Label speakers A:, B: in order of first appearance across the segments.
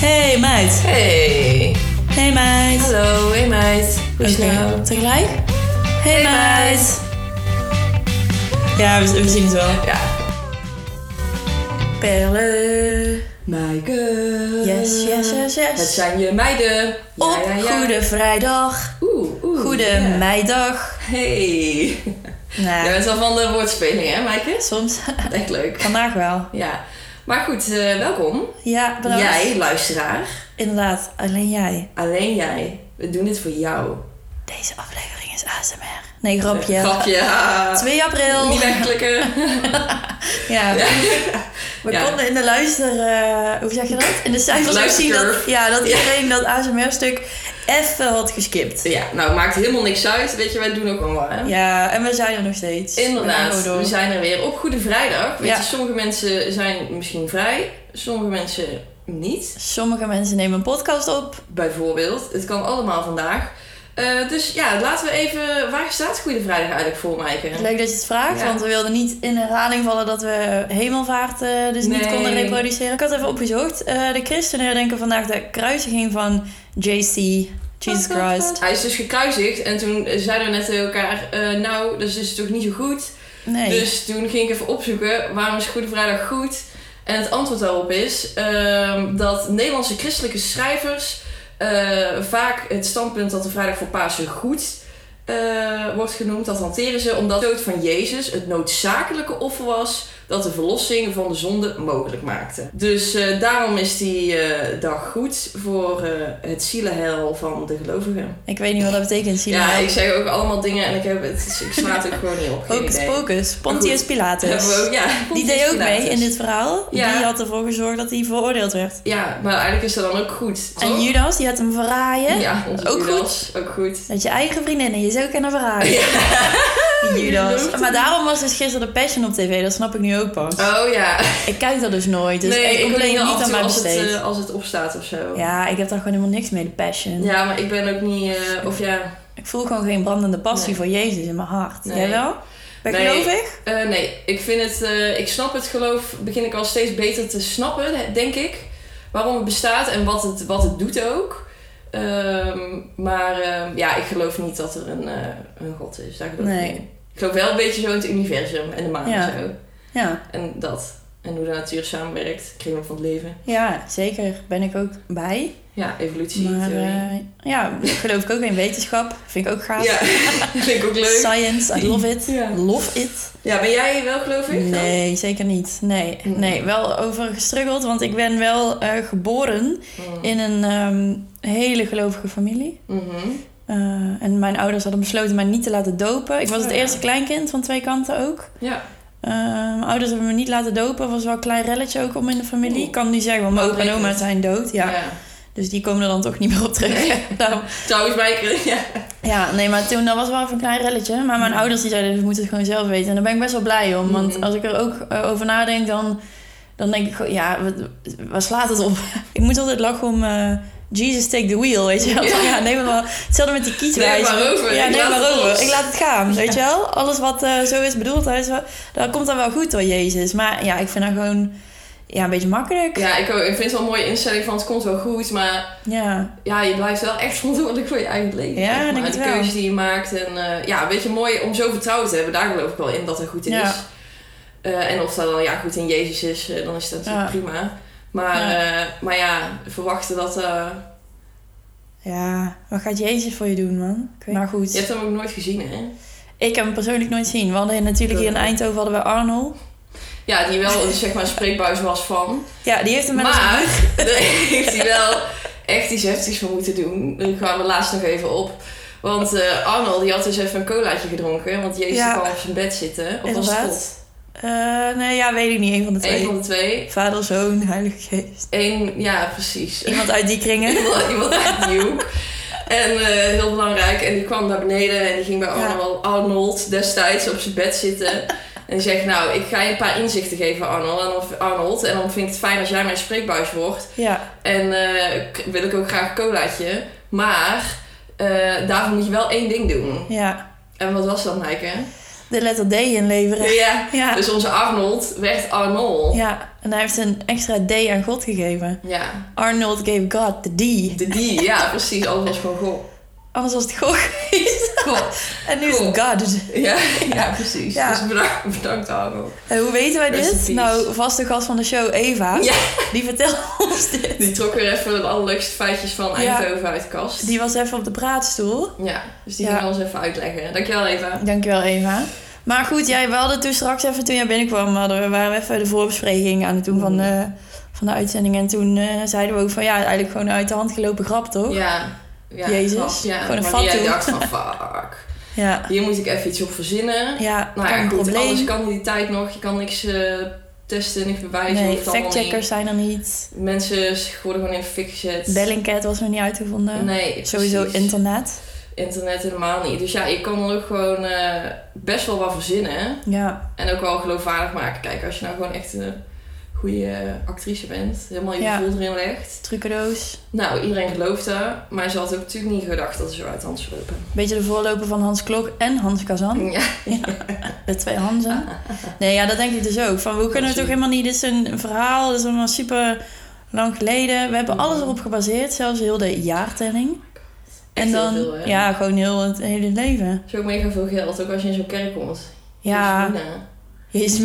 A: meid.
B: Hey.
A: Hey meid.
B: Hallo, Oh, hey meid. Hoe is het nou?
A: Tegelijk? Hey, meid. Ja, we, we zien het wel.
B: Ja.
A: Bellen.
B: My girl.
A: Yes, yes, yes, yes.
B: Het zijn je meiden. Ja,
A: Op
B: ja, ja.
A: Goede Vrijdag.
B: Oeh, oeh.
A: Goede
B: ja.
A: meidag.
B: Hey.
A: Nou,
B: Jij bent wel van de woordspeling, hè, Maaike?
A: soms.
B: Echt leuk.
A: Vandaag wel.
B: Ja. Maar goed, eh, welkom.
A: Ja, bedankt.
B: Jij, luisteraar.
A: Inderdaad, alleen jij.
B: Alleen jij. We doen dit voor jou.
A: Deze aflevering is ASMR. Nee, grapje.
B: Grapje. Ah.
A: 2 april.
B: Niet wegklikken.
A: Ja, we
B: Ja.
A: konden in de luister... eh, hoe zeg je dat? In de cijfers ook zien dat,
B: Luistercurve.
A: ja, dat iedereen dat ASMR-stuk even had geskipt.
B: ja, nou, maakt helemaal niks uit. Weet je, wij doen ook allemaal, hè?
A: Ja, en we zijn er nog steeds. We gaan
B: Inderdaad,
A: gewoon door.
B: we zijn er weer op Goede Vrijdag. Weet
A: Ja.
B: je, sommige mensen zijn misschien vrij, sommige mensen niet.
A: Sommige mensen nemen een podcast op.
B: Bijvoorbeeld, het kan allemaal vandaag. Eh, dus ja, laten we even... Waar staat Goede Vrijdag eigenlijk voor, Maaike?
A: Leuk dat je het vraagt,
B: Ja.
A: want we wilden niet in herhaling vallen dat we hemelvaart eh, dus niet
B: Nee.
A: konden reproduceren. Ik had even opgezocht. Eh, de christenen herdenken vandaag de kruisiging van JC, Jesus Christ.
B: Hij is dus gekruisigd en toen zeiden we net tegen elkaar... eh, nou, dus is het toch niet zo goed?
A: Nee.
B: Dus toen ging ik even opzoeken waarom is Goede Vrijdag goed. En het antwoord daarop is ehm, dat Nederlandse christelijke schrijvers eh, vaak het standpunt dat de vrijdag voor Pasen goed eh, wordt genoemd, dat hanteren ze omdat de dood van Jezus het noodzakelijke offer was dat de verlossing van de zonde mogelijk maakte. Dus eh, daarom is die eh, dag goed voor eh, het zielenheil van de gelovigen.
A: Ik weet niet wat dat betekent. Zie
B: ja,
A: maar.
B: ik zeg ook allemaal dingen en ik, heb het, dus ik sla het ook gewoon niet op. Geen
A: Hocus
B: idee.
A: pocus. Pontius Pilatus.
B: Hebben we ook, ja,
A: Dus Die deed ook mee in dit verhaal.
B: Ja.
A: Die had ervoor gezorgd dat hij veroordeeld werd.
B: Ja, maar eigenlijk is dat dan ook goed.
A: En
B: toch?
A: Judas, die had hem verraaien.
B: Ja, onze
A: Ook
B: Judas, Ook goed.
A: Dat je eigen vriendinnen je zo kunnen verraaien.
B: Judas.
A: Judas. Maar daarom was dus gisteren de Passion op tv. Dat snap ik nu ook pas.
B: Oh ja.
A: Ik kijk dat dus nooit. Dus
B: nee,
A: ik
B: ik
A: complain
B: weet
A: niet
B: niet
A: aan mij
B: als het,
A: besteed.
B: eh, als het opstaat of zo.
A: Ja, ik heb daar gewoon helemaal niks mee, de passion.
B: Ja, maar ik ben ook niet... eh, of ja...
A: Ik voel gewoon geen brandende passie
B: Nee.
A: voor Jezus in mijn hart.
B: Nee.
A: Jij wel? Ben ik
B: Nee.
A: gelovig?
B: Eh, nee, ik vind het... eh, ik snap het geloof, begin ik al steeds beter te snappen, denk ik. Waarom het bestaat en wat het, wat het doet ook. Ehm, maar ehm, ja, ik geloof niet dat er een, eh, een god is. Daar geloof
A: Nee.
B: ik niet in. Ik geloof wel een beetje zo in het universum en de maan
A: Ja.
B: en zo.
A: Ja.
B: En dat. En hoe de natuur samenwerkt. Kringloop van het leven.
A: ja, zeker. Ben ik ook bij.
B: Ja, evolutie,
A: Maar
B: theorie.
A: eh, ja, geloof ik ook in wetenschap. Vind ik ook gaaf.
B: ja, vind ik ook leuk.
A: Science, I love it.
B: Ja.
A: Love it.
B: Ja, ben jij wel gelovig? dan?
A: Nee, zeker niet. Nee,
B: Mm.
A: nee, wel over gestruggeld, want ik ben wel eh, geboren
B: Mm.
A: in een ehm, hele gelovige familie.
B: Mhm.
A: Eh, en mijn ouders hadden besloten mij niet te laten dopen. Ik was het
B: Oh ja.
A: eerste kleinkind van twee kanten ook.
B: Ja.
A: Eh, mijn ouders hebben me niet laten dopen. was wel een klein relletje ook om in de familie.
B: Oeh.
A: Ik kan nu zeggen, want mijn opa en oma
B: Uitrekend.
A: zijn dood. Ja. Dus die komen er dan toch niet meer op terug. Daarom-
B: Trouwens, bij ja.
A: ja, nee, maar toen dat was wel even een klein relletje. Maar mijn ouders die zeiden, we moeten het gewoon zelf weten. En daar ben ik best wel blij om. Want
B: Mhm.
A: als ik er ook eh, over nadenk, dan, dan denk ik gewoon, ja, wat, waar slaat het op? ik moet altijd lachen om eh, Jesus take the wheel, weet je wel. Ja,
B: Ja.
A: neem het wel. Hetzelfde met die kietwijs.
B: Neem maar over.
A: Ja,
B: Ik
A: neem
B: laat
A: maar
B: het
A: over.
B: los.
A: Ik laat het gaan, weet je wel. Alles wat eh, zo is bedoeld, dat, is wel- dat komt dan wel goed door Jezus. Maar ja, ik vind dat gewoon ja, een beetje makkelijk.
B: Ja, ik, ook. ik vind het wel een mooie instelling van het komt wel goed, maar
A: ja.
B: ja, je blijft wel echt verantwoordelijk voor je eigen leven.
A: Ja,
B: zeg maar.
A: denk het
B: de
A: wel.
B: keuzes die je maakt en eh, ja, een beetje mooi om zo vertrouwen te hebben, daar geloof ik wel in dat het goed is.
A: Ja.
B: Eh, en of dat dan ja, goed in Jezus is, eh, dan is dat natuurlijk prima. Maar ja, maar ja verwachten dat. eh,
A: Ja, wat gaat Jezus voor je doen, man? Ik weet- Maar goed.
B: je hebt hem ook nooit gezien, hè?
A: Ik heb hem persoonlijk nooit zien. We hadden natuurlijk
B: Eh.
A: hier in Eindhoven hadden we Arnold.
B: Ja, die wel zeg maar een spreekbuis was van.
A: Ja, die heeft hem met
B: Maar daar heeft hij wel echt iets heftigs voor moeten doen. Daar kwamen we laatst nog even op. Want eh Arnold die had dus even een colaatje gedronken. Want Jezus
A: Ja.
B: kwam op zijn bed zitten. Of was het
A: Inderdaad.
B: God?
A: Eh, nee, ja, weet ik niet. Een van de
B: Eén
A: twee.
B: van de twee.
A: Vader, zoon, heilige geest.
B: Eén, ja precies.
A: Iemand uit die kringen.
B: Iemand iemand uit die hoek. En eh, heel belangrijk. En die kwam naar beneden en die ging bij
A: Ja.
B: Arnold, Arnold destijds op zijn bed zitten. En die zegt, nou, ik ga je een paar inzichten geven, Arnold. En, of, Arnold. en dan vind ik het fijn als jij mijn spreekbuis wordt.
A: Ja,
B: En eh, k- wil ik ook graag een colaatje. Maar eh, daarvoor moet je wel één ding doen.
A: ja.
B: En wat was dat, Maaike?
A: Dus de letter D inleveren.
B: Ja.
A: Ja.
B: Dus onze Arnold werd Arnold.
A: ja, en hij heeft een extra D aan God gegeven.
B: Ja.
A: Arnold gave God de D.
B: De die, ja, precies. Alles was gewoon goh.
A: Anders was het God geweest.
B: Goh.
A: En nu is het God.
B: Ja, ja precies.
A: Ja.
B: Dus bedankt, bedankt Arnold.
A: En Eh, hoe weten wij
B: Rest in
A: dit?
B: peace.
A: Nou, vaste gast van de show, Eva,
B: Ja.
A: die vertelt ons dit.
B: Die trok weer even de allerleukste feitjes van
A: Ja.
B: Eindhoven uit de kast.
A: Die was even op de praatstoel.
B: Ja, dus die
A: Ja.
B: gaan ons even uitleggen. Dankjewel Eva.
A: Dankjewel, Eva. Maar goed, jij, we hadden toen straks even, toen jij binnenkwam, hadden, we waren we even de voorbespreking aan het doen van, eh, van de uitzending. En toen eh, zeiden we ook van, ja, eigenlijk gewoon een uit de hand gelopen grap, toch? Ja.
B: Ja. ja
A: Jezus.
B: grap, Ja.
A: Gewoon een
B: maar die
A: fatsoen.
B: dacht van fuck.
A: Ja,
B: Hier moet ik even iets op verzinnen. Nou
A: kan
B: ja,
A: een
B: goed,
A: probleem.
B: alles kan in die tijd nog. Je kan niks eh, testen, niks bewijzen.
A: nee,
B: of het allemaal
A: factcheckers zijn er niet.
B: niet. Mensen worden gewoon in de fik gezet.
A: Bellingcat was nog niet uitgevonden.
B: Nee,
A: Sowieso
B: precies.
A: internet.
B: internet helemaal niet. Dus ja, je kan er ook gewoon eh, best wel wat verzinnen.
A: Ja,
B: En ook wel geloofwaardig maken. Kijk, als je nou gewoon echt een goede actrice bent. Helemaal je
A: Ja.
B: gevoel erin legt.
A: trucendoos.
B: Nou, iedereen gelooft dat. Maar ze had ook natuurlijk niet gedacht dat ze zo uit de hand zou lopen.
A: Beetje de voorloper van Hans Klok Oh. en Hans Kazan.
B: Ja.
A: De twee Hanzen.
B: Ah.
A: Nee, ja, dat denk ik dus ook. Van, we kunnen het ook helemaal niet. Dit is een verhaal, dit is allemaal super lang geleden. We hebben alles erop gebaseerd, zelfs heel de jaartelling.
B: Mm. Echt
A: En
B: heel
A: dan,
B: veel, hè?
A: ja, gewoon heel het hele leven.
B: Het is ook mega veel geld. Ook als je in zo'n kerk komt.
A: Ja,
B: Dus, nou,
A: Jezus,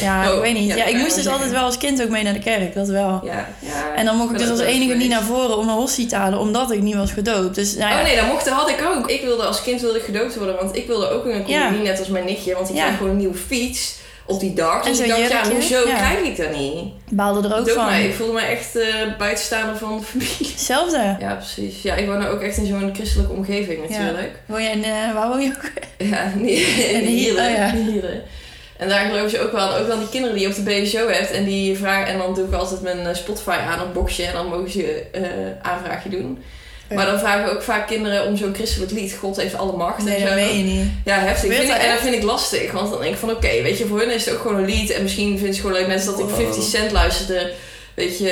A: Ja,
B: Oh,
A: ik weet niet.
B: ja,
A: Ja,
B: dat
A: ik
B: kan
A: moest
B: je
A: dus
B: wel
A: altijd
B: zeggen.
A: wel als kind ook mee naar de kerk, dat wel.
B: Ja, ja.
A: En dan mocht ik
B: Maar
A: dus
B: dat
A: als
B: is
A: enige
B: geweest.
A: niet naar voren om een hostie te halen, omdat ik niet was gedoopt. Dus nou ja,
B: Oh nee, dat mocht, dat had ik ook. Ik wilde als kind wilde ik gedoopt worden, want ik wilde ook een
A: Ja.
B: communie, net als mijn nichtje. Want ik
A: Ja.
B: kreeg gewoon een nieuwe fiets op die dag.
A: En
B: Dus
A: zo'n
B: ik dacht, ja,
A: jurkje.
B: hoezo
A: Ja.
B: krijg ik dat niet?
A: ik baalde er ook
B: Doe
A: van.
B: mij. Ik voelde me echt eh, buitenstaander van de familie.
A: Hetzelfde.
B: Ja, precies. Ja, ik woon ook echt in zo'n christelijke omgeving natuurlijk.
A: Woon jij in, eh, waar woon je ook?
B: Ja, nee, in
A: hier-
B: Hielen.
A: oh ja.
B: in Hielen. En daar geloven ze ook wel aan. Ook aan die kinderen die je op de BSO hebt. En die vragen, en dan doe ik altijd mijn eh, Spotify aan, een boxje. En dan mogen ze eh aanvraagje doen.
A: Ja.
B: Maar dan vragen ook vaak kinderen om zo'n christelijk lied. God heeft alle macht
A: Nee,
B: en zo.
A: dat weet je niet.
B: Ja, heftig.
A: Gebeurt
B: Vind ik,
A: dat
B: en dat
A: echt?
B: vind ik lastig. Want dan denk ik van oké, weet je, voor hun is het ook gewoon een lied. En misschien vinden ze gewoon leuk mensen dat ik
A: Wow.
B: 50 cent luisterde. Weet je,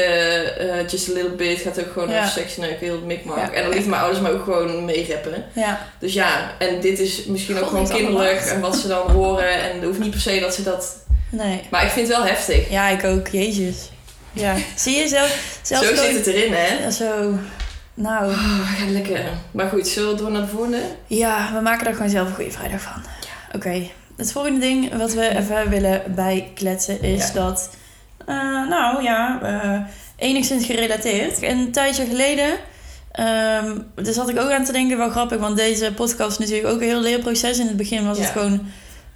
B: eh, Just a Little Bit gaat ook gewoon
A: Ja.
B: over seks neuken, heel het mikmak.
A: Ja,
B: en dan lieten mijn ouders me ook gewoon meereppen.
A: Ja,
B: Dus ja, en dit is misschien ook
A: God,
B: gewoon
A: dit is
B: kinderlijk.
A: allemaal.
B: En wat ze dan horen. En het hoeft niet per se dat ze dat...
A: nee.
B: Maar ik vind het wel heftig.
A: Ja, ik ook. Jezus. Ja. Zie je zelf? zelf
B: Zo zit het erin, hè?
A: Zo. Nou,
B: Oh, we gaan lekker. Maar goed, zullen we door naar de volgende?
A: ja, we maken er gewoon zelf een goede vrijdag van. Oké. Het volgende ding wat we even willen bijkletsen is
B: Ja.
A: dat... eh, nou ja, eh, enigszins gerelateerd. Een tijdje geleden... ehm dus had ik ook aan te denken, wel grappig, want deze podcast is natuurlijk ook een heel leerproces. In het begin was het
B: Ja.
A: gewoon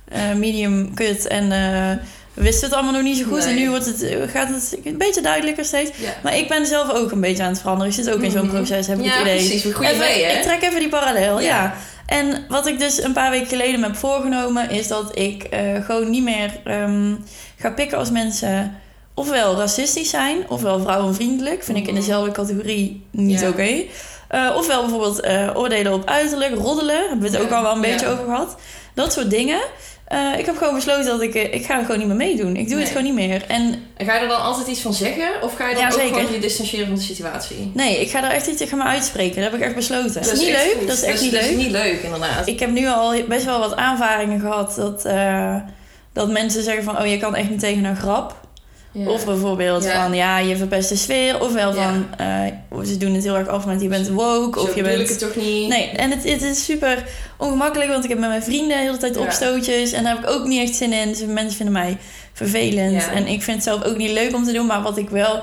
A: eh, medium kut en eh, we wisten het allemaal nog niet zo goed. En
B: Nee.
A: nu wordt het, gaat het een beetje duidelijker steeds.
B: Ja.
A: Maar ik ben zelf ook een beetje aan het veranderen. Ik zit ook in zo'n
B: Mhm.
A: proces, heb ik
B: ja,
A: het idee.
B: precies. Een goede
A: Even-
B: idee,
A: Ik
B: hè?
A: trek even die parallel, ja.
B: Ja.
A: En wat ik dus een paar weken geleden me heb voorgenomen... is dat ik eh, gewoon niet meer ehm, ga pikken als mensen... ofwel racistisch zijn, ofwel vrouwenvriendelijk. Vind ik in
B: Mhm.
A: dezelfde categorie niet
B: Ja.
A: oké. Eh, ofwel bijvoorbeeld eh, oordelen op uiterlijk, roddelen. Hebben we het
B: Ja,
A: ook al wel een
B: ja.
A: beetje over gehad. Dat soort dingen. Eh, ik heb gewoon besloten dat ik... eh, ik ga er gewoon niet meer meedoen. Ik doe het
B: Nee.
A: gewoon niet meer. En
B: En ga je er dan altijd iets van zeggen? Of ga je dan
A: Ja,
B: ook
A: zeker.
B: gewoon je distancieren van de situatie?
A: Nee, ik ga er echt iets tegen me uitspreken. Dat heb ik echt besloten. Dat is, niet
B: Dus echt
A: leuk.
B: goed.
A: Dat is echt niet
B: Dat
A: leuk.
B: is niet leuk, inderdaad.
A: Ik heb nu al best wel wat aanvaringen gehad dat, eh, dat mensen zeggen van... oh, je kan echt niet tegen een grap.
B: Ja.
A: Of bijvoorbeeld
B: Ja.
A: van, ja, je verpest de sfeer. Ofwel
B: Ja.
A: van, eh, ze doen het heel erg af met je bent woke.
B: Zo
A: of je
B: Dus bedoel
A: bent...
B: ik het toch niet?
A: Nee, en het, het is super ongemakkelijk, want ik heb met mijn vrienden de hele tijd
B: Ja.
A: opstootjes. En daar heb ik ook niet echt zin in. Dus mensen vinden mij vervelend.
B: Ja.
A: En ik vind het zelf ook niet leuk om te doen. Maar wat ik wel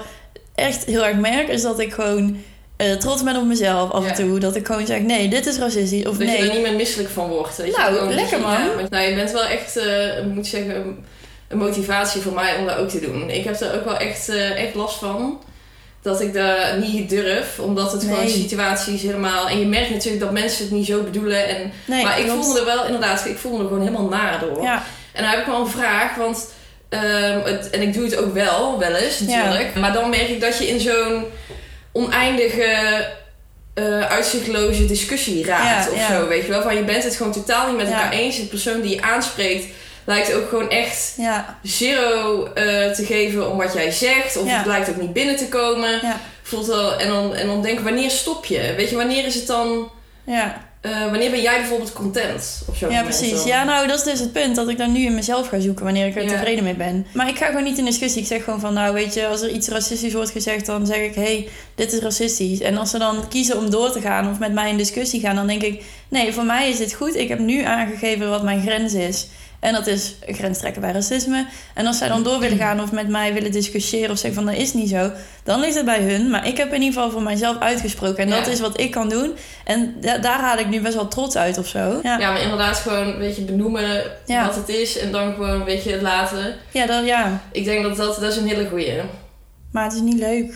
A: echt heel erg merk, is dat ik gewoon eh, trots ben op mezelf af en
B: Ja.
A: toe. Dat ik gewoon zeg, nee, dit is racistisch. Of
B: dat je er
A: nee,
B: niet meer misselijk van wordt. weet je.
A: Nou,
B: Gewoon
A: lekker,
B: misschien,
A: man.
B: ja, maar- nou, je bent wel echt, eh, ik moet zeggen, een- een motivatie voor mij om dat ook te doen. Ik heb er ook wel echt, eh, echt last van. Dat ik dat niet durf, omdat het gewoon
A: Nee.
B: situaties helemaal... En je merkt natuurlijk dat mensen het niet zo bedoelen. En,
A: nee.
B: maar ik
A: klopt.
B: voelde er wel inderdaad, ik voelde er gewoon helemaal naar door.
A: Ja,
B: En dan heb ik wel een vraag, want ehm, het, en ik doe het ook wel, wel eens
A: Ja.
B: natuurlijk. Maar dan merk ik dat je in zo'n oneindige, eh, uitzichtloze discussie raakt
A: Ja,
B: of
A: ja.
B: zo, weet je wel. Van je bent het gewoon totaal niet met
A: Ja.
B: elkaar eens. De persoon die je aanspreekt lijkt ook gewoon echt
A: ja,
B: zero eh, te geven om wat jij zegt. Of
A: Ja.
B: het lijkt ook niet binnen te komen.
A: Ja.
B: Voelt wel, en, dan, en dan denk ik, wanneer stop je? Weet je, wanneer is het dan
A: ja.
B: eh, wanneer ben jij bijvoorbeeld content op zo'n
A: Ja,
B: moment
A: precies.
B: dan?
A: Ja, nou, dat is dus het punt dat ik dan nu in mezelf ga zoeken wanneer ik er
B: Ja.
A: tevreden mee ben. Maar ik ga gewoon niet in discussie. Ik zeg gewoon van, nou, weet je, als er iets racistisch wordt gezegd, dan zeg ik, hé, hey, dit is racistisch. En als ze dan kiezen om door te gaan of met mij in discussie gaan, dan denk ik, nee, voor mij is dit goed. Ik heb nu aangegeven wat mijn grens is. En dat is grens trekken bij racisme. En als zij dan door willen gaan of met mij willen discussiëren of zeggen van dat is niet zo, dan ligt het bij hun. Maar ik heb in ieder geval voor mijzelf uitgesproken. En
B: Ja.
A: dat is wat ik kan doen. En da- daar haal ik nu best wel trots uit of zo. Ja.
B: Ja, maar inderdaad gewoon een beetje benoemen
A: Ja.
B: wat het is en dan gewoon een beetje het laten.
A: Ja, dat, ja,
B: Ik denk dat dat, dat is een hele goeie.
A: maar het is niet leuk.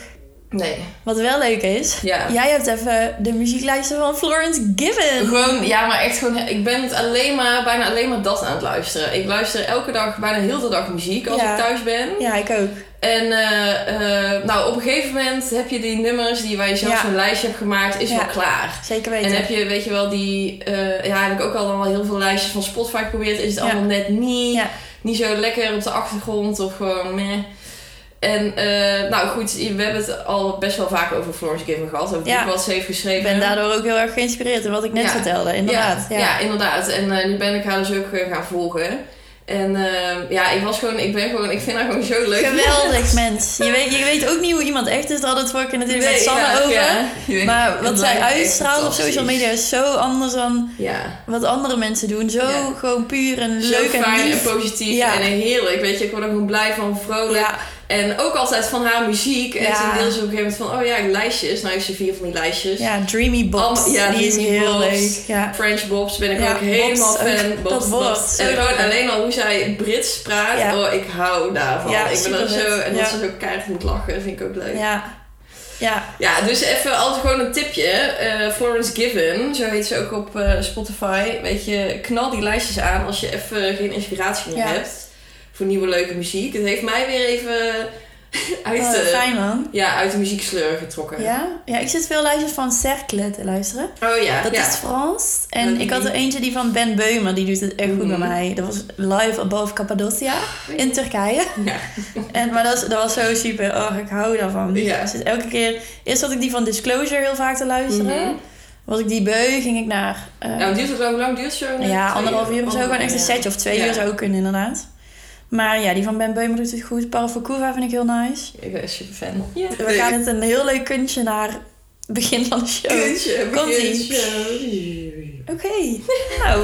B: Nee.
A: Wat wel leuk is,
B: Ja.
A: jij hebt even de muzieklijsten van Florence Gibbon.
B: Gewoon, ja, maar echt gewoon, ik ben het alleen maar, bijna alleen maar dat aan het luisteren. Ik luister elke dag, bijna heel de dag muziek als
A: Ja.
B: ik thuis ben.
A: Ja, ik ook.
B: En eh, eh, nou, op een gegeven moment heb je die nummers die waar je zelf
A: Ja.
B: zo'n lijstje hebt gemaakt, is
A: Ja.
B: wel klaar.
A: Zeker
B: En
A: weten.
B: heb je, weet je wel, die, eh, ja, heb ik ook al dan wel heel veel lijstjes van Spotify geprobeerd, is
A: Ja.
B: het allemaal net niet,
A: Ja.
B: niet zo lekker op de achtergrond of gewoon meh. En eh, nou goed, we hebben het al best wel vaak over Florence Given gehad, over het
A: Ja.
B: boek wat ze heeft
A: Ik
B: geschreven.
A: ben daardoor ook heel erg geïnspireerd door wat ik net
B: Ja.
A: vertelde, inderdaad. Ja,
B: Ja, ja, inderdaad. En eh, nu ben ik haar dus ook eh, gaan volgen. En eh, ja, ik was gewoon, ik ben gewoon, ik vind haar gewoon zo leuk.
A: Geweldig mens. Je weet, je weet ook niet hoe iemand echt is, daar hadden we het vorige keer natuurlijk
B: Nee,
A: met Sanne
B: ja,
A: over.
B: ja. Je weet-
A: Maar
B: het
A: wat zij
B: lijkt me echt
A: uitstraalt op social
B: fantastisch.
A: media is zo anders dan
B: Ja.
A: wat andere mensen doen. Zo
B: Ja.
A: gewoon puur en
B: Zo
A: leuk en
B: fijn en,
A: lief.
B: positief
A: Ja.
B: en heerlijk. Weet je, ik word er gewoon blij van, vrolijk.
A: ja,
B: En ook altijd van haar muziek. En
A: Ja.
B: toen deelde ze op een gegeven moment van, oh ja, lijstjes. Nou heeft ze vier van die lijstjes.
A: ja, Dreamy Box.
B: Allemaal- ja,
A: die is
B: Dreamy
A: heel
B: Bobs.
A: leuk. Ja.
B: French Bobs ben ik
A: Ja,
B: ook helemaal
A: Bobs,
B: fan.
A: ook
B: Bobs,
A: dat woord,
B: Bobs. En
A: zo
B: gewoon
A: leuk.
B: alleen al hoe zij Brits praat.
A: Ja.
B: Oh, ik hou daarvan.
A: Ja,
B: ik ben er
A: supervet.
B: zo... En
A: Ja.
B: dat ze zo keihard moet lachen, vind ik ook leuk. Ja,
A: Ja. ja,
B: dus even altijd gewoon een tipje. Eh, Florence Given, zo heet ze ook op eh, Spotify. Weet je, knal die lijstjes aan als je even geen inspiratie meer
A: Ja.
B: hebt. Voor nieuwe leuke muziek. Het heeft mij weer even uit,
A: Oh,
B: de,
A: fijn man.
B: ja, uit de muzieksleur getrokken.
A: Ja? ja, ik zit veel lijstjes van Cercle te luisteren.
B: Oh ja,
A: Dat
B: ja.
A: is Frans. En
B: Dat
A: ik had
B: die-
A: er eentje die van Ben Beumer, die doet het echt goed bij
B: Mhm.
A: mij. Dat was live above Cappadocia in Turkije.
B: Ja.
A: En, maar dat, is- dat was zo super. Oh, ik hou daarvan.
B: Ja.
A: Dus elke keer, eerst had ik die van Disclosure heel vaak te luisteren.
B: Mhm. Oh,
A: Was ik die beu, ging ik naar. eh,
B: Ja, want duurt het lang, lang duurt zo?
A: ja, anderhalf uur of zo. Gewoon echt een setje of twee
B: Oh, Ja.
A: uur zou ook kunnen, inderdaad. Maar ja, die van Ben Beumer doet het goed. Parafacouva vind ik heel nice.
B: Ik ben super fan.
A: We gaan met een heel leuk kunstje naar het begin van de show. Komt-ie. Oké, nou,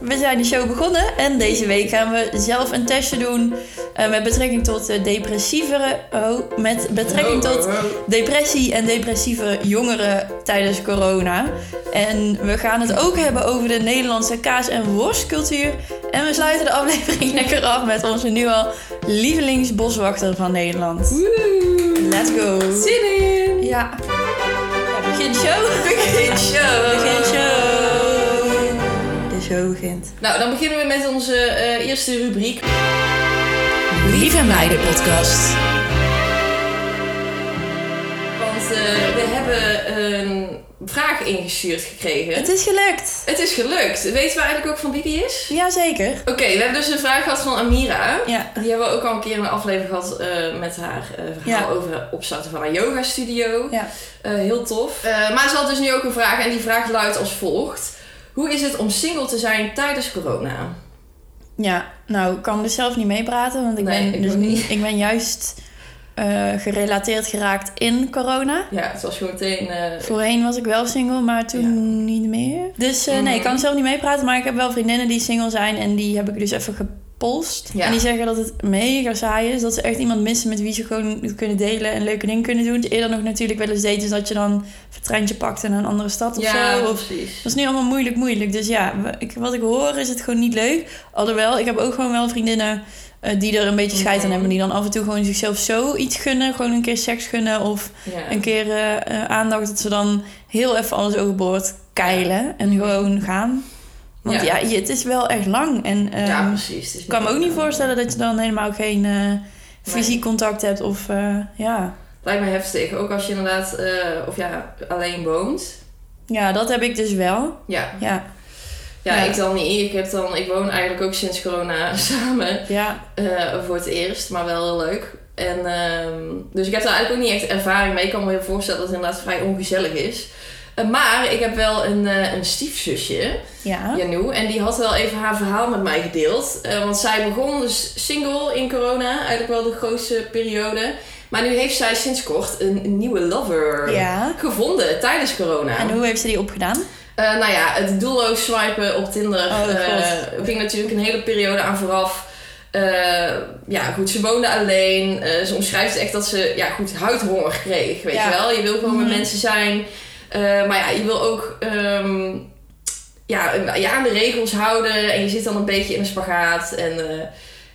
A: we zijn de show begonnen en deze week gaan we zelf een testje doen eh, met betrekking tot eh, depressievere, oh, met betrekking
B: oh,
A: tot depressie en depressieve jongeren tijdens corona. En we gaan het ook hebben over de Nederlandse kaas- en worstcultuur. En we sluiten de aflevering lekker af met onze nu al lievelingsboswachter van Nederland. Let's go!
B: Zin in!
A: Ja, Ja, begin show!
B: Begin show!
A: Begin show! De show begint.
B: Nou, dan beginnen we met onze eh, eerste rubriek.
A: Lieve meiden podcast.
B: Want eh, we hebben een vraag ingestuurd gekregen.
A: Het is gelukt.
B: Het is gelukt. Weten we eigenlijk ook van wie die is?
A: Jazeker.
B: Oké, we hebben dus een vraag gehad van Amira.
A: Ja.
B: Die hebben we ook al een keer in een aflevering gehad eh, met haar eh, verhaal over het opstarten van haar yoga studio.
A: Ja.
B: Eh, heel tof. Eh, maar ze had dus nu ook een vraag en die vraag luidt als volgt. Hoe is het om single te zijn tijdens corona?
A: Ja, nou, ik kan dus zelf niet meepraten, want ik,
B: Nee,
A: ben,
B: ik
A: dus
B: ook niet.
A: niet- ik ben juist eh, gerelateerd geraakt in corona.
B: Ja, het was gewoon meteen... eh,
A: Voorheen was ik wel single, maar toen niet meer. Dus eh, nee, ik
B: Mhm.
A: kan zelf niet meepraten, maar ik heb wel vriendinnen die single zijn en die heb ik dus even gepolst.
B: Ja.
A: En die zeggen dat het mega saai is, dat ze echt iemand missen met wie ze gewoon het kunnen delen en leuke dingen kunnen doen. Eerder nog natuurlijk wel eens dates dat je dan een treintje pakt en naar een andere stad of
B: ja,
A: zo. Of
B: precies.
A: Dat is nu allemaal moeilijk, moeilijk. Dus ja, wa- ik, wat ik hoor is het gewoon niet leuk. Alhoewel, ik heb ook gewoon wel vriendinnen eh, die er een beetje scheid aan
B: Mhm.
A: hebben. Die dan af en toe gewoon zichzelf zoiets gunnen. Gewoon een keer seks gunnen. Of
B: Ja.
A: een keer eh, eh, aandacht. Dat ze dan heel even alles overboord keilen. En gewoon gaan. Want ja,
B: Ja.
A: je- het is wel echt lang. En ehm,
B: ja, precies. Het is eh,
A: ik kan me ook niet voorstellen dat je dan helemaal geen eh, fysiek contact hebt. Of eh, ja.
B: Lijkt me heftig. Ook als je inderdaad, eh, of ja, alleen woont.
A: ja, dat heb ik dus wel.
B: Ja.
A: Ja,
B: Ja,
A: Ja.
B: ik dan niet. Ik, heb dan, ik woon eigenlijk ook sinds corona samen.
A: ja,
B: Eh, voor het eerst, maar wel heel leuk. En, ehm, dus ik heb daar eigenlijk ook niet echt ervaring mee. Ik kan me heel voorstellen dat het inderdaad vrij ongezellig is. Eh, maar ik heb wel een, eh, een stiefzusje,
A: Ja.
B: Janu, en die had wel even haar verhaal met mij gedeeld. Eh, want zij begon dus single in corona, eigenlijk wel de grootste periode. Maar nu heeft zij sinds kort een nieuwe lover
A: Ja.
B: gevonden tijdens corona.
A: En hoe heeft ze die opgedaan?
B: Eh, nou ja, het doelloos swipen op Tinder
A: Oh,
B: eh,
A: God.
B: ging natuurlijk een hele periode aan vooraf. Eh, ja, goed, ze woonde alleen. Eh, ze omschrijft echt dat ze ja, goed, huidhonger kreeg, weet
A: Ja.
B: je wel. Je wil gewoon
A: Mhm.
B: met mensen zijn. Eh, maar ja, je wil ook ehm, ja, je aan de regels houden. En je zit dan een beetje in een spagaat. En eh,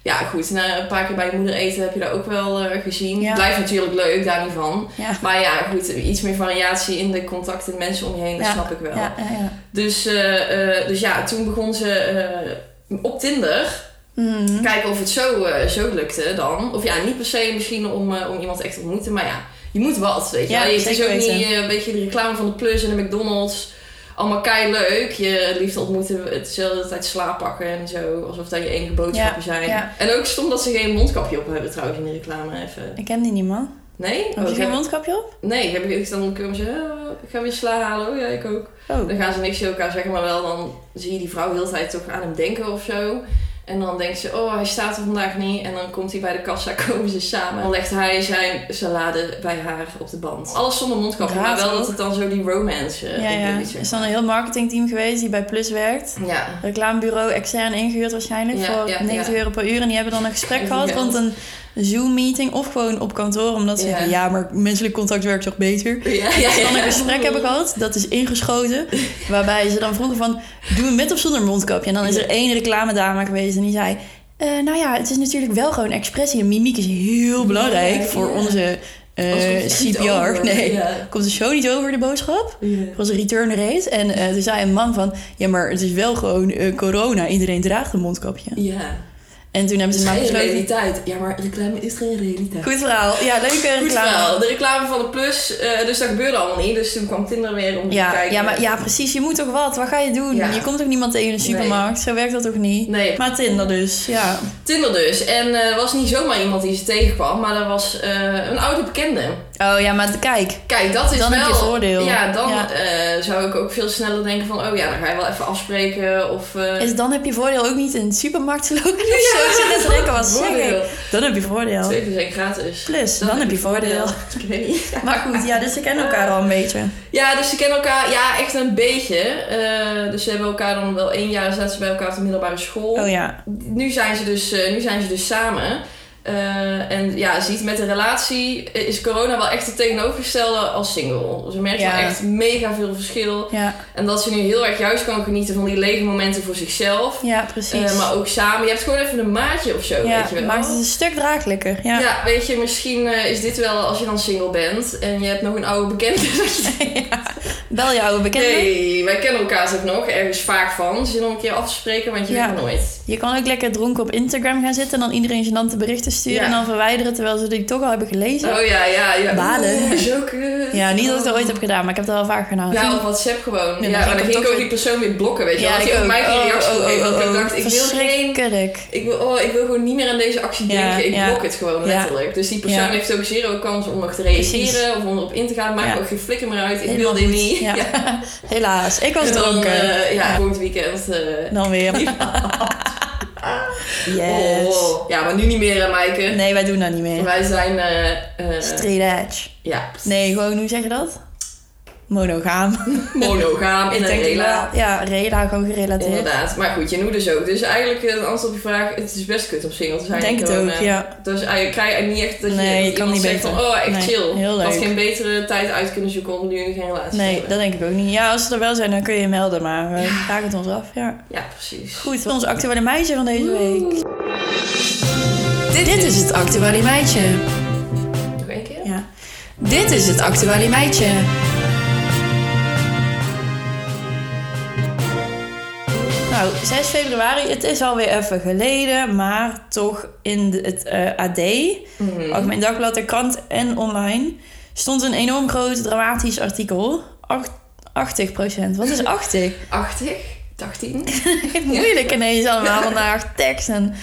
B: ja, goed, na een paar keer bij je moeder eten heb je dat ook wel eh, gezien.
A: Ja.
B: Blijft natuurlijk leuk, daar niet van.
A: Ja.
B: Maar ja, goed, iets meer variatie in de contacten mensen om je heen, dat
A: Ja.
B: snap ik wel.
A: Ja, ja, ja.
B: Dus, eh, eh, dus ja, toen begon ze eh, op Tinder.
A: Mhm.
B: Kijken of het zo, eh, zo lukte dan. Of ja, niet per se misschien om, eh, om iemand echt te ontmoeten. Maar ja, je moet wat, weet je
A: Ja,
B: wel. Je- Het is ook
A: zeker weten.
B: niet eh, een beetje de reclame van de Plus en de McDonald's. Allemaal kei leuk. Je liefde ontmoeten, hetzelfde tijd slaap pakken en zo. Alsof dat je enige boodschappen zijn.
A: ja.
B: En ook stom dat ze geen mondkapje op hebben trouwens in de reclame. Even.
A: Ik ken die niet, man.
B: Nee?
A: Heb je
B: Oh,
A: geen
B: heb-
A: mondkapje op?
B: nee, heb ik, dan kunnen ze... eh, ik ga weer sla halen. Oh ja, ik ook.
A: Oh.
B: Dan gaan ze niks tegen elkaar zeggen, maar wel dan zie je die vrouw heel de tijd toch aan hem denken of zo. En dan denkt ze, oh, hij staat er vandaag niet. En dan komt hij bij de kassa, komen ze samen. Dan legt hij zijn salade bij haar op de band. Alles zonder mondkapje,
A: Raar
B: maar wel
A: toch?
B: dat het dan zo die romance eh,
A: Ja, ja.
B: opdoet, zeg
A: Is dan een heel marketingteam geweest die bij Plus werkt.
B: maar. Ja.
A: Reclamebureau extern ingehuurd waarschijnlijk
B: Mm. Ja,
A: voor
B: ja, ja.
A: 90 euro per uur. En die hebben dan een gesprek
B: Ja.
A: gehad rond een Zoom-meeting of gewoon op kantoor. Omdat ze
B: Ja.
A: zeggen, ja, maar menselijk contact werkt toch beter?
B: Ja, ja,
A: Dan een
B: ja.
A: gesprek hebben gehad, dat is ingeschoten. Waarbij ze dan vroegen van, doen we met of zonder mondkapje? En dan is er één reclamedame geweest en die zei... eh, nou ja, het is natuurlijk wel gewoon expressie. En mimiek is heel belangrijk
B: Ja,
A: voor
B: ja.
A: onze eh,
B: Alsof het niet
A: CPR.
B: over-
A: Nee,
B: Ja.
A: komt de show niet over, de boodschap?
B: Ja.
A: Er was een return race. En eh, toen zei een man van... Ja, maar het is wel gewoon eh, corona. Iedereen draagt een mondkapje.
B: Ja.
A: En toen hebben
B: Het
A: ze
B: is
A: maar
B: geen
A: besloten...
B: realiteit. Ja, maar reclame is geen realiteit.
A: Goed verhaal. Ja, leuke reclame.
B: Goed verhaal. De reclame van de Plus, eh, dus dat gebeurde allemaal niet. Dus toen kwam Tinder weer om te
A: Ja,
B: kijken.
A: ja, maar, ja, precies. Je moet toch wat? Wat ga je doen?
B: Ja.
A: Je komt toch niemand tegen in de supermarkt? Zo werkt dat toch niet?
B: Nee,
A: Maar Tinder dus, ja.
B: Tinder dus. En eh was niet zomaar iemand die ze tegenkwam, maar dat was eh, een oude bekende.
A: Oh ja, maar kijk.
B: Kijk, dat is
A: Dan
B: wel...
A: heb je voordeel.
B: Ja, dan
A: Ja.
B: eh, zou ik ook veel sneller denken van... Oh ja, dan ga je wel even afspreken of... eh,
A: Is dan heb je voordeel ook niet in de supermarkt te lopen? Zo ik zit net te denken, wat zeg ik?
B: voordeel.
A: Dan heb je voordeel.
B: Twee keer zijn gratis.
A: Plus, dan, heb je voordeel.
B: Ik weet niet.
A: Maar goed, ja, dus ze kennen elkaar al een beetje.
B: Ja, dus ze kennen elkaar ja, echt een beetje. Eh, dus ze hebben elkaar dan wel één jaar zaten ze bij elkaar op de middelbare school.
A: Oh ja.
B: nu zijn ze dus, eh, nu zijn ze dus samen. Eh, en ja, ziet met de relatie eh, is corona wel echt het tegenovergestelde als single. Ze merkt
A: Ja.
B: wel echt mega veel verschil.
A: Ja,
B: En dat ze nu heel erg juist kan genieten van die lege momenten voor zichzelf.
A: ja precies.
B: Eh, maar ook samen. Je hebt gewoon even een maatje of zo, weet je
A: ja,
B: wel.
A: maakt het een stuk draaglijker. Ja.
B: ja. weet je, misschien eh, is dit wel als je dan single bent en je hebt nog een oude bekende. dat je denkt,
A: Bel je oude bekende.
B: hey, wij kennen elkaar ook nog, ergens vaak van. Zin om een keer af te spreken, want je
A: Ja.
B: weet het nooit.
A: Je kan ook lekker dronken op Instagram gaan zitten en dan iedereen gênante berichten sturen
B: Ja.
A: en dan verwijderen terwijl ze die toch al hebben gelezen.
B: Oh ja, ja, ja.
A: Balen.
B: Oeh, Zo kut.
A: Ja, niet dat ik dat ooit heb gedaan, maar ik heb dat wel vaak gedaan.
B: Ja, op WhatsApp Nou, gewoon.
A: Oh. Ja,
B: Ja,
A: dan
B: maar
A: ging
B: dan
A: ik
B: ging ik
A: ook
B: ook die persoon weer blokken, weet je wel.
A: Ja, Oh,
B: Want die ook mij geen reactie gegeven. Want ik dacht, ik wil geen...
A: Verschrikkelijk.
B: Ik wil, oh, ik wil gewoon niet meer aan deze actie
A: Ja,
B: denken. Ik
A: ja.
B: blok het gewoon
A: Ja.
B: letterlijk. Dus die persoon
A: Ja.
B: heeft ook zero kans om nog te reageren of om erop in te gaan. Maakt
A: Ja.
B: ook geen flikker meer uit. Ik
A: Helemaal
B: wil dit
A: goed.
B: niet.
A: Ja. Helaas, ik was
B: En dan,
A: dronken.
B: eh, ja,
A: Ja.
B: volgend weekend. eh,
A: Dan weer. yes.
B: oh. Ja, maar nu niet meer, hè, Maaike.
A: Nee, wij doen dat niet meer.
B: Wij zijn... eh, eh,
A: Straight edge.
B: ja,
A: Nee, gewoon, hoe zeg je dat? Monogaam.
B: monogaam in
A: Ik
B: een
A: denk wel.
B: relatie.
A: Ja, rela gewoon gerelateerd.
B: Inderdaad, maar goed, je noemt dus ook. Dus eigenlijk, eh, het antwoord op je vraag, het is best kut om single te zijn.
A: Ik denk het
B: Gewoon,
A: ook,
B: eh,
A: ja.
B: Dus eigenlijk krijg je eigenlijk niet echt dat
A: Nee,
B: je,
A: je kan
B: iemand
A: niet
B: zegt
A: beter.
B: van, oh, echt
A: Nee,
B: chill.
A: heel
B: Ik had
A: leuk.
B: geen betere tijd uit kunnen zoeken om nu geen relatie te
A: Nee,
B: hebben.
A: dat denk ik ook niet. Ja, als ze er wel zijn, dan kun je je melden, maar we vragen het ons af. Ja.
B: Ja, precies.
A: Goed, ons actuele meisje van deze week.
B: Dit,
A: is het actuele meisje.
B: Nog één keer?
A: Ja. Dit is het actuele meidje. Nou, 6 februari, het is alweer even geleden, maar toch in de- het eh, AD,
B: Mhm.
A: Algemeen Dagblad, de krant en online, stond een enorm groot dramatisch artikel. Acht- 80 Wat is 80?
B: 80, 18.
A: Moeilijk ineens allemaal vandaag, tekst en...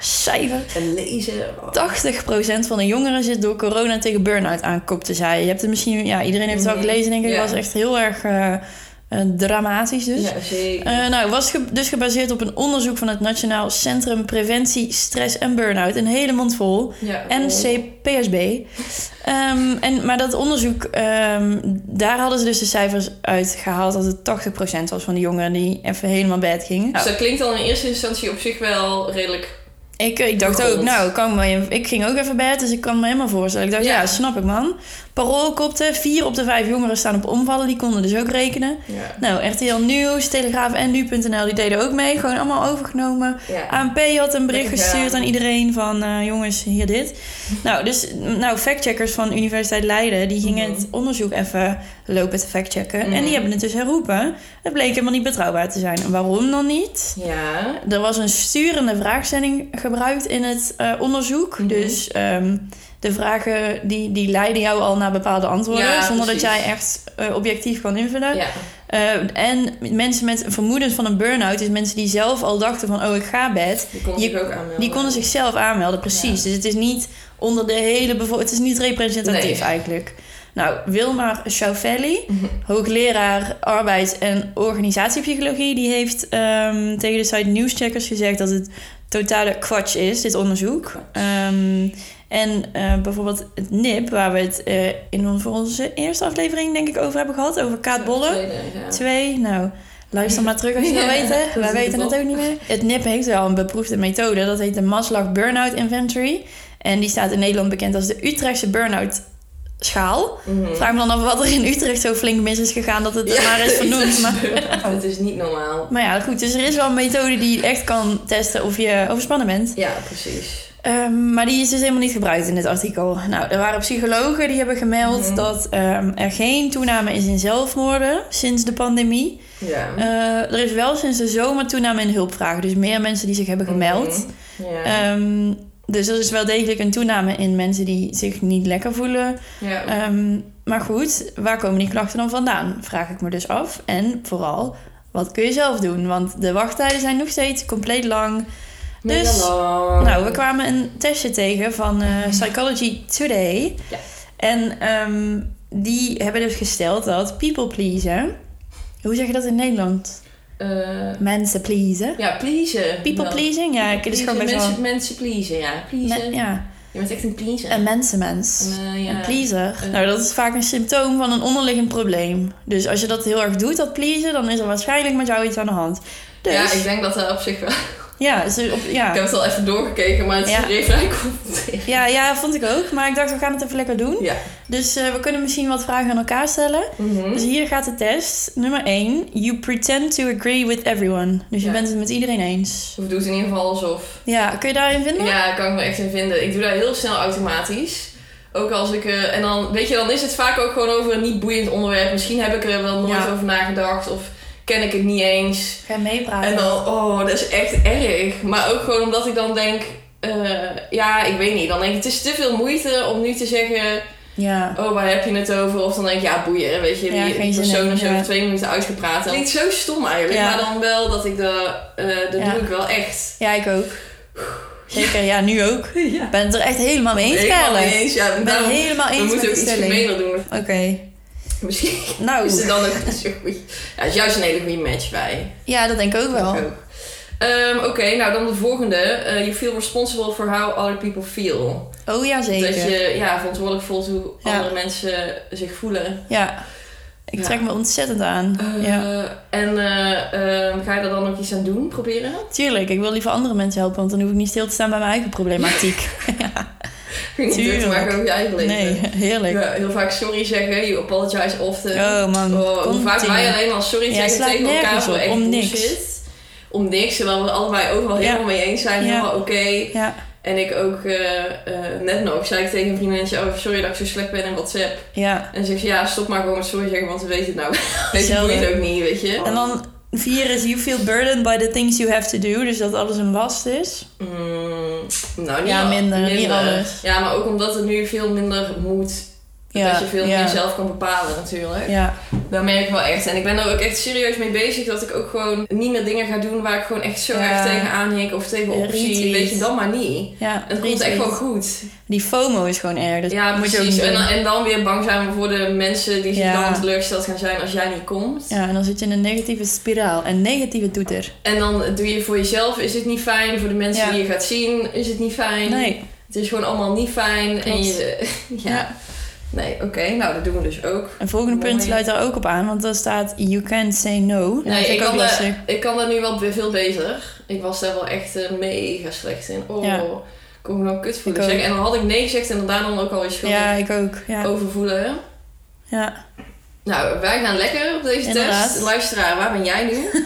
A: cijfer.
B: En lezen. Oh.
A: 80% van de jongeren zit door corona tegen burn-out aan, kopte zij. Je hebt het misschien, ja, iedereen heeft het wel
B: Mhm.
A: gelezen, denk ik.
B: Ja.
A: Het was echt heel erg eh, eh, dramatisch dus.
B: Ja, zeker.
A: Eh, nou, was ge- dus gebaseerd op een onderzoek van het Nationaal Centrum Preventie Stress en Burnout. Een hele mond vol.
B: ja,
A: NCPSB. Ehm, en, maar dat onderzoek, ehm, daar hadden ze dus de cijfers uit gehaald dat het 80% was van de jongeren die even helemaal bed gingen.
B: Dus
A: Nou,
B: dat klinkt dan in eerste instantie op zich wel redelijk.
A: ik, ik dacht
B: God.
A: ook, nou, kan me, ik ging ook even bed, dus ik kan me helemaal voorstellen. Ik dacht, ja,
B: Ja.
A: snap ik man. Parool kopte, vier op de vijf jongeren staan op omvallen, die konden dus ook rekenen.
B: Ja.
A: Nou, RTL Nieuws, Telegraaf en Nu.nl, die deden ook mee, gewoon allemaal overgenomen. ANP had een bericht
B: Lekker
A: gestuurd
B: gedaan.
A: aan iedereen van eh, jongens, hier dit. Nou, dus nou, factcheckers van Universiteit Leiden, die gingen
B: Mhm.
A: het onderzoek even lopen te factchecken. En
B: Mhm.
A: die hebben het dus herroepen. Het bleek helemaal niet betrouwbaar te zijn. En Waarom dan niet?
B: Ja.
A: Er was een sturende vraagstelling gebruikt in het eh, onderzoek.
B: Mhm.
A: Dus ehm, de vragen die, die leiden jou al naar bepaalde antwoorden.
B: Ja,
A: zonder dat
B: precies.
A: jij echt eh, objectief kan invullen.
B: Ja.
A: Eh, en mensen met vermoedens van een burn-out. Dus mensen die zelf al dachten van oh ik ga bed.
B: Die konden
A: Je-
B: zich ook aanmelden.
A: Die konden zichzelf aanmelden, precies. Dus het is niet onder de hele bevolking. Het is niet representatief
B: Nee.
A: eigenlijk. Nou, Wilmar Schaufelli,
B: Mhm.
A: hoogleraar arbeids- en organisatiepsychologie, die heeft ehm, tegen de site Newscheckers gezegd dat het totale kwatsch is, dit onderzoek. Ehm, en eh, bijvoorbeeld het NIP, waar we het eh, in onze, voor onze eerste aflevering denk ik over hebben gehad, over Kaat Bolle.
B: Tweede, ja.
A: Twee, nou, luister maar terug als je dat
B: Ja,
A: weet.
B: dat
A: Hè.
B: is
A: Wij
B: het
A: weten het
B: wel.
A: ook niet meer. Het NIP heeft wel een beproefde methode. Dat heet de Maslach Burnout Inventory. En die staat in Nederland bekend als de Utrechtse Burnout Schaal.
B: Mhm.
A: Vraag me dan af wat er in Utrecht zo flink mis is gegaan dat het er
B: Ja,
A: maar is vernoemd. Maar,
B: Het is niet normaal.
A: maar ja, goed. Dus er is wel een methode die echt kan testen of je overspannen bent.
B: Ja, precies.
A: Ehm, maar die is dus helemaal niet gebruikt in dit artikel. Nou, er waren psychologen die hebben gemeld
B: Mhm.
A: dat ehm, er geen toename is in zelfmoorden sinds de pandemie.
B: Ja.
A: Eh, er is wel sinds de zomer toename in hulpvragen. Dus meer mensen die zich hebben gemeld.
B: Mhm. Ja.
A: Ehm, dus er is wel degelijk een toename in mensen die zich niet lekker voelen.
B: ja.
A: Ehm, maar goed, waar komen die klachten dan vandaan? Vraag ik me dus af. En vooral, wat kun je zelf doen? Want de wachttijden zijn nog steeds compleet lang.
B: Mega
A: dus-
B: lang.
A: Nou, we kwamen een testje tegen van eh, Psychology Today.
B: Ja.
A: En ehm, die hebben dus gesteld dat people pleasen... Hoe zeg je dat in Nederland?
B: Eh,
A: Mensen pleasen.
B: ja, pleasen.
A: People
B: Dan.
A: pleasing? Ja, ik het is
B: Pleasen,
A: gewoon best
B: mensen,
A: wel...
B: mensen pleasen, ja. Pleasen.
A: Me- ja,
B: Je bent echt een pleaser.
A: een mensenmens.
B: Eh, ja.
A: Een pleaser.
B: Een-
A: Nou, dat is vaak een symptoom van een onderliggend probleem. Dus als je dat heel erg doet, dat pleasen, dan is er waarschijnlijk met jou iets aan de hand. Dus,
B: Ja,
A: ja,
B: ik denk dat dat op zich wel...
A: ze- op-
B: Ik heb
A: ja.
B: het al even doorgekeken, maar het
A: Ja.
B: is er even uitgeconfronteerd.
A: Ja, ja, vond ik ook. Maar ik dacht, we gaan het even lekker doen.
B: Ja.
A: Dus eh, we kunnen misschien wat vragen aan elkaar stellen.
B: Mhm.
A: Dus hier gaat de test. Nummer 1. You pretend to agree with everyone. Dus je
B: Ja.
A: bent het met iedereen eens.
B: Of doe Dus het in ieder geval alsof...
A: Ja, kun je daarin vinden?
B: Ja, kan ik me echt in vinden. Ik doe dat heel snel automatisch. Ook als ik. eh, en dan, weet je, dan is het vaak ook gewoon over een niet boeiend onderwerp. Misschien heb ik er wel nooit
A: Ja.
B: over nagedacht of ken ik het niet eens.
A: Ga je meepraten?
B: En dan, oh, dat is echt erg. Maar ook gewoon omdat ik dan denk. eh, ja, ik weet niet. Dan denk ik, het is te veel moeite om nu te zeggen,
A: Ja.
B: oh, waar heb je het over? Of dan denk ik, ja, boeien, weet je,
A: Ja,
B: die,
A: geen
B: die
A: zin in,
B: persoon is
A: ja.
B: over twee minuten uitgepraat. Dat klinkt zo stom eigenlijk,
A: Ja.
B: maar dan wel dat ik dat, eh, dat
A: Ja.
B: doe ik wel echt.
A: Ja, ik ook. Zeker, ja, nu ook.
B: Ja.
A: Ik ben het er echt helemaal mee eens,
B: Helemaal
A: Karel.
B: niet
A: Ik
B: eens, ja,
A: ben
B: daarom-
A: het helemaal
B: We
A: eens met
B: moeten
A: de
B: ook iets
A: stelling.
B: gemener doen.
A: Oké,
B: Misschien is
A: nou.
B: er dan ook niet zo goed. Ja, het is juist een hele goede match bij.
A: Ja, dat denk ik ook wel.
B: Ook. Ehm, Oké, nou dan de volgende. Eh, you feel responsible for how other people feel.
A: Oh ja,
B: Dat
A: zeker.
B: je ja, verantwoordelijk voelt hoe
A: Ja.
B: andere mensen zich voelen.
A: Ja. Ik
B: Ja.
A: trek me ontzettend aan.
B: Eh,
A: Ja.
B: En eh, ehm, ga je daar dan ook iets aan doen, proberen?
A: Tuurlijk, ik wil liever andere mensen helpen, want dan hoef ik niet stil te staan bij mijn eigen problematiek.
B: Niet druk te
A: Tuurlijk.
B: maken over je eigen leven.
A: Nee, heerlijk.
B: Ja, heel vaak sorry zeggen, you apologize often.
A: Oh man,
B: Oh, hoe vaak
A: continu.
B: wij alleen al sorry
A: Ja,
B: zeggen
A: slaat
B: tegen elkaar
A: nergens
B: voor
A: op,
B: echt
A: om niks.
B: bullshit. Om niks, terwijl we allebei overal
A: Ja.
B: helemaal mee eens zijn,
A: Ja.
B: helemaal oké.
A: Ja,
B: En ik ook eh, eh, net nog zei ik tegen een vriendinnetje, oh sorry dat ik zo slecht ben in WhatsApp.
A: ja.
B: En ze zegt, ja stop maar gewoon met sorry zeggen, want we weten het nou. Weet je,
A: Zelden.
B: boeit ook niet, weet je.
A: En dan vier is you feel burdened by the things you have to do, dus dat alles een last is.
B: Mm, nou, niet
A: Ja,
B: al-
A: minder, niet alles.
B: Ja, maar ook omdat er nu veel minder moet dat je veel meer zelf kan bepalen natuurlijk.
A: Ja,
B: Dat merk ik wel echt. En ik ben er ook echt serieus mee bezig dat ik ook gewoon niet meer dingen ga doen waar ik gewoon echt zo
A: Ja.
B: erg tegenaan hik of tegen
A: Ja,
B: opzie.
A: retweet.
B: Weet je, dan maar niet.
A: ja.
B: Het komt echt
A: retweet.
B: wel goed.
A: Die FOMO is gewoon erg. Dus
B: Ja,
A: moet je ook
B: precies.
A: niet
B: En
A: doen.
B: dan, en dan weer bang zijn voor de mensen die zich
A: Ja.
B: dan teleurgesteld gaan zijn als jij niet komt.
A: Ja, en dan zit je in een negatieve spiraal. En negatieve doet er.
B: En dan doe je voor jezelf is het niet fijn. Voor de mensen
A: Ja.
B: die je gaat zien is het niet fijn.
A: Nee.
B: Het is gewoon allemaal niet fijn. En
A: Klopt.
B: je, ja.
A: Ja.
B: Nee, oké. Nou, dat doen we dus ook.
A: Een volgende punt
B: Mooi.
A: sluit daar ook op aan, want daar staat You can't say no. Dat
B: nee,
A: is
B: ik
A: ook
B: kan,
A: lastig.
B: daar, ik kan daar nu wel be- veel beter. Ik was daar wel echt eh, mega slecht in. Oh,
A: Ja.
B: ik kon me dan kut voelen.
A: Ik ook.
B: zeggen. En dan had ik nee gezegd en dan daar dan ook al iets schuldig
A: Ja, ik ook. Ja.
B: over voelen.
A: Ja.
B: Nou, wij gaan lekker op deze
A: Inderdaad.
B: test. Luisteraar, waar ben jij nu?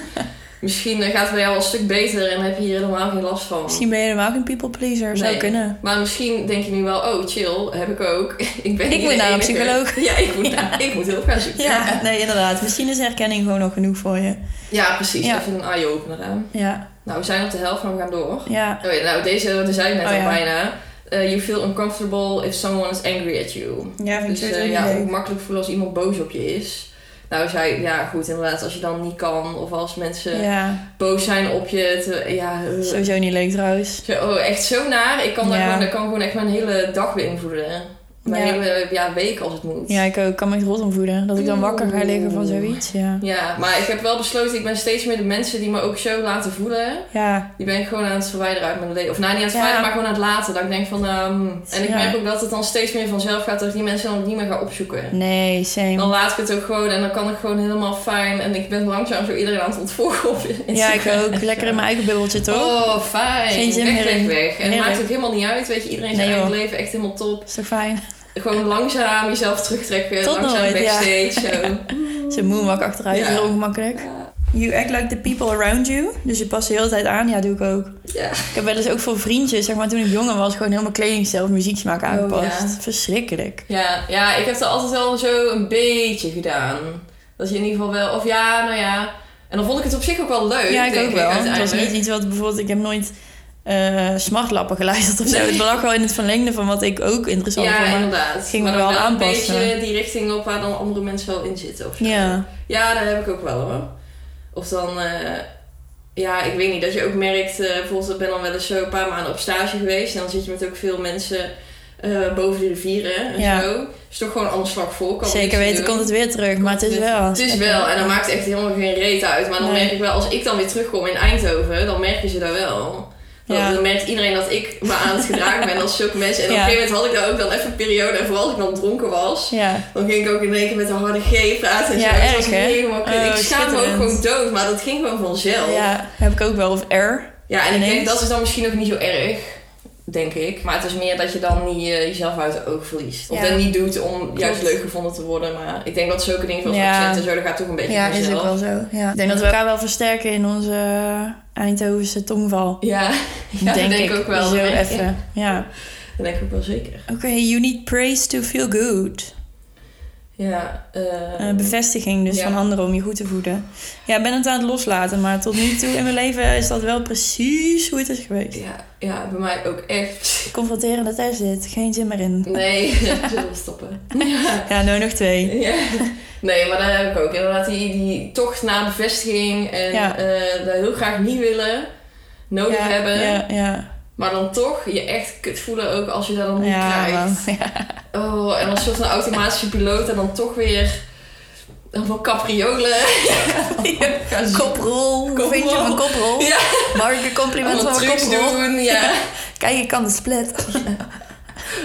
B: Misschien eh, gaat het bij jou wel een stuk beter en heb je hier helemaal geen last van.
A: Misschien ben je helemaal geen people pleaser. Zou
B: Nee.
A: kunnen.
B: Maar misschien denk je nu wel, oh chill, heb ik ook. ik ben
A: Ik
B: niet
A: moet
B: de
A: naar een
B: enige.
A: psycholoog.
B: Ja, ik moet, ik moet hulp gaan zoeken.
A: Ja, nee, inderdaad. Misschien is herkenning gewoon nog genoeg voor je.
B: Ja, precies.
A: Ja.
B: Even een eye-opener hè.
A: Ja,
B: Nou, we zijn op de helft, maar we gaan door.
A: ja.
B: Oh ja, nou, deze daar zei ik net
A: Oh
B: al
A: ja.
B: bijna. Eh, you feel uncomfortable if someone is angry at you.
A: Ja, vind
B: Dus
A: Oh, ik
B: eh,
A: sowieso
B: ja,
A: niet
B: ook
A: leuk.
B: makkelijk voelen als iemand boos op je is. Nou, zei ja, goed, inderdaad, als je dan niet kan of als mensen
A: Ja,
B: boos zijn op je. te- ja, eh,
A: sowieso niet leuk trouwens.
B: zo- oh, echt zo naar. Ik kan, daar
A: Ja.
B: gewoon, dat kan gewoon echt mijn hele dag beïnvloeden. Mijn
A: Ja.
B: hele eh, ja, week als het moet.
A: Ja, ik ook. kan me echt rot om voelen. Dat ik dan wakker ga liggen van
B: Oeh.
A: zoiets. Ja.
B: Ja, maar ik heb wel besloten, ik ben steeds meer de mensen die me ook zo laten voelen.
A: Ja,
B: Die ben ik gewoon aan het verwijderen uit mijn leven. Of nou, niet aan het
A: Ja.
B: verwijderen, maar gewoon aan het laten. Dat ik denk van, ehm, en ik
A: Ja.
B: merk ook dat het dan steeds meer vanzelf gaat dat ik die mensen dan ook niet meer ga opzoeken.
A: nee,
B: Dan
A: same.
B: laat ik het ook gewoon en dan kan ik gewoon helemaal fijn. En ik ben langzaam zo iedereen aan het ontvolgen op Instagram.
A: Ja, ik ook. Lekker in mijn eigen bubbeltje, toch?
B: Oh, fijn.
A: Geen zin
B: weg,
A: meer
B: weg,
A: in.
B: weg. En het
A: Heerlijk.
B: maakt ook helemaal niet uit, weet je. Iedereen zijn
A: Nee,
B: eigen leven, echt helemaal top.
A: Is toch fijn?
B: Gewoon langzaam jezelf terugtrekken,
A: Tot
B: langzaam
A: nooit, ja.
B: backstage. Zo.
A: Zijn moonwalk achteruit,
B: Ja.
A: heel ongemakkelijk.
B: Ja.
A: You act like the people around you. Dus je past de hele tijd aan. Ja, doe ik ook.
B: Ja.
A: Ik heb wel eens ook voor vriendjes, zeg maar toen ik jonger was, gewoon helemaal kledingstijl of muzieksmaak aangepast.
B: Oh, ja.
A: Verschrikkelijk.
B: Ja, ja, ik heb het altijd wel zo een beetje gedaan. Dat je in ieder geval wel, of ja, nou ja. En dan vond ik het op zich ook wel leuk.
A: ja, ik
B: denk
A: ook wel. Het was
B: uiteindelijk.
A: niet iets wat bijvoorbeeld, ik heb nooit eh, smartlappen geluisterd of zo.
B: Nee.
A: Het lag wel in het verlengde van wat ik ook interessant
B: Ja,
A: vond. maar-
B: inderdaad.
A: ging
B: maar
A: me
B: dan
A: wel
B: een
A: aanpassen.
B: beetje die richting op waar dan andere mensen wel in zitten. Of zo.
A: Ja,
B: Ja, dat heb ik ook wel hoor. Of dan, eh, ja, ik weet niet, dat je ook merkt, eh, bijvoorbeeld, ik ben dan wel eens zo een paar maanden op stage geweest. En dan zit je met ook veel mensen eh, boven de rivieren en
A: Ja.
B: zo. Is toch gewoon een ander slag vol. Kan
A: zeker
B: niks
A: weten
B: doen.
A: komt het weer terug, maar het is wel.
B: Het is wel, en dat maakt echt helemaal geen reet uit. Maar dan
A: Nee.
B: merk ik wel, als ik dan weer terugkom in Eindhoven, dan merken ze dat wel. Dan,
A: Ja.
B: dan merkt iedereen dat ik me aan het gedragen ben als zulke mensen. En op
A: Ja.
B: een gegeven moment had ik daar ook dan even een periode. En vooral als ik dan dronken was,
A: Ja,
B: dan ging ik ook in één keer met een harde G praten. En
A: Ja,
B: zo. Het was
A: erg, hè?
B: helemaal kut.
A: Oh,
B: ik schaam me ook
A: schitterend.
B: gewoon dood, maar dat ging gewoon vanzelf. Ja,
A: ja, heb ik ook wel. Of R.
B: en ik denk
A: Ineens.
B: dat is dan misschien ook niet zo erg. Denk ik. Maar het is meer dat je dan niet eh, jezelf uit het oog verliest. Of
A: Ja.
B: dat niet doet om juist
A: Klopt.
B: leuk gevonden te worden. Maar ik denk dat zulke dingen zoals
A: Ja.
B: accenten en zo, dat gaat toch een beetje
A: Ja,
B: vanzelf.
A: is ook wel zo. Ja. Ik denk dat we elkaar wel versterken in onze Eindhovense tongval.
B: Ja, ja
A: denk
B: dat
A: ik.
B: ook wel.
A: Zo
B: Dat denk ik-
A: even. Ja.
B: Dat denk ik ook wel zeker.
A: Oké, you need praise to feel good.
B: Ja, eh,
A: Eh, bevestiging dus
B: Ja.
A: van anderen om je goed te voeden. Ja, ik ben het aan het loslaten, maar tot nu toe in mijn leven is dat wel precies hoe het is geweest.
B: ja, ja, bij mij ook echt.
A: Confronterende test dit, geen zin meer in.
B: Nee, zullen we stoppen. Ja.
A: Ja, nou nog twee.
B: Ja. Nee, maar daar heb ik ook. Inderdaad, die, die tocht naar bevestiging en
A: Ja.
B: eh, dat heel graag niet willen, nodig
A: ja,
B: hebben.
A: Ja, ja.
B: Maar dan toch je echt kut voelen ook als je dat dan niet
A: Ja,
B: krijgt.
A: man. Ja.
B: Oh, en dan soort van automatische piloot en dan toch weer allemaal capriolen. Ja, ga zo-
A: Koprol. Hoe vind je
B: Koprol.
A: van koprol?
B: Ja.
A: Mag ik een compliment
B: allemaal
A: van mijn
B: trucs
A: koprol?
B: doen. Ja.
A: Kijk, ik kan de split.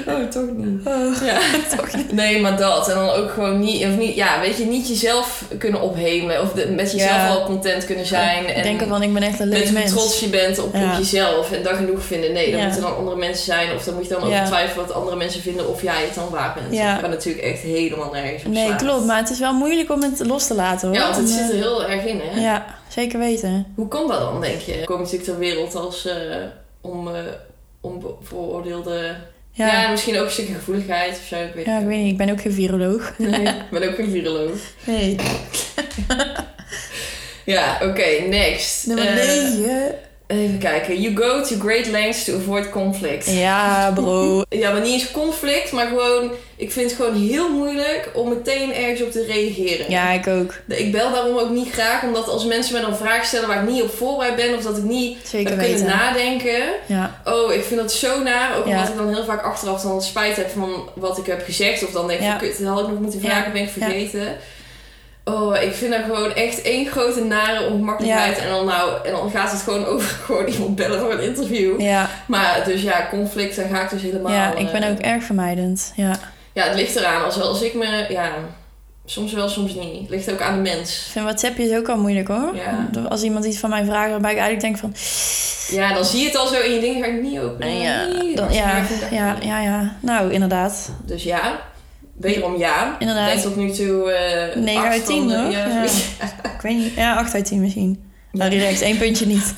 B: Oh, toch niet.
A: Oh,
B: Ja.
A: toch niet.
B: Nee, maar dat. En dan ook gewoon niet, of niet, ja, weet je, niet jezelf kunnen ophemelen. Of de- met jezelf
A: Ja.
B: al content kunnen zijn. En
A: Denken van, ik ben echt een leuk
B: met hoe
A: mens.
B: trots je bent op, op
A: Ja.
B: jezelf. En dat genoeg vinden. Nee, dan
A: Ja.
B: moeten dan andere mensen zijn. Of dan moet je dan
A: Ja.
B: over twijfelen wat andere mensen vinden. Of jij het dan waar bent.
A: Ja.
B: Maar natuurlijk echt helemaal nergens op
A: Nee,
B: slaat.
A: klopt. Maar het is wel moeilijk om het los te laten, hoor.
B: Ja, want het
A: En,
B: zit er
A: eh,
B: heel erg in, hè.
A: Ja, zeker weten.
B: Hoe kan dat dan, denk je? Kom natuurlijk ter wereld als eh om... eh, onbevooroordeelde... Ja.
A: Ja,
B: misschien ook een stukje gevoeligheid of zo. Ik weet
A: ja, ik
B: het
A: weet niet. Ik ben ook geen viroloog.
B: niet. Nee, ik ben ook geen viroloog.
A: Nee.
B: Ja, oké, next.
A: Nummer
B: Eh,
A: 9.
B: Even kijken. You go to great lengths to avoid conflict.
A: Ja, bro.
B: Ja, maar niet eens conflict, maar gewoon... Ik vind het gewoon heel moeilijk om meteen ergens op te reageren.
A: Ja, ik ook.
B: Ik bel daarom ook niet graag, omdat als mensen mij dan vragen stellen waar ik niet op voorbereid ben... of dat ik niet
A: Zeker
B: heb kunnen
A: weten.
B: nadenken...
A: Ja,
B: Oh, ik vind dat zo naar. Ook
A: Ja.
B: omdat ik dan heel vaak achteraf dan spijt heb van wat ik heb gezegd. Of dan denk ik,
A: Ja.
B: kut, dat had ik nog moeten vragen, ben ik
A: Ja.
B: vergeten. Oh, ik vind dat gewoon echt één grote nare ongemakkelijkheid. En, dan nou, en dan gaat het gewoon over gewoon iemand bellen voor een interview.
A: ja,
B: Maar dus ja, conflict, daar ga ik dus helemaal...
A: ja ik ben
B: eh,
A: ook erg vermijdend. Ja.
B: Ja, het ligt eraan. Als, als ik me... Ja, soms wel, soms niet. Het ligt ook aan de mens.
A: Ik vind WhatsAppjes ook al moeilijk hoor.
B: Ja.
A: Als iemand iets van mij vraagt waarbij ik eigenlijk denk van...
B: Ja, dan zie je het al zo in je ding, ga ik niet openen.
A: ja,
B: Nee, dus
A: dan,
B: dat is
A: ja,
B: echt een dag
A: ja,
B: niet.
A: ja, ja. Nou, inderdaad.
B: Dus ja, wederom ja.
A: Inderdaad.
B: Ik denk tot nu toe... eh
A: Negen
B: acht
A: uit tien,
B: van de-
A: hoor.
B: Ja,
A: Ja.
B: zoiets.
A: Ik weet niet. Ja, 8 uit 10 misschien. Nou, direct. één puntje niet.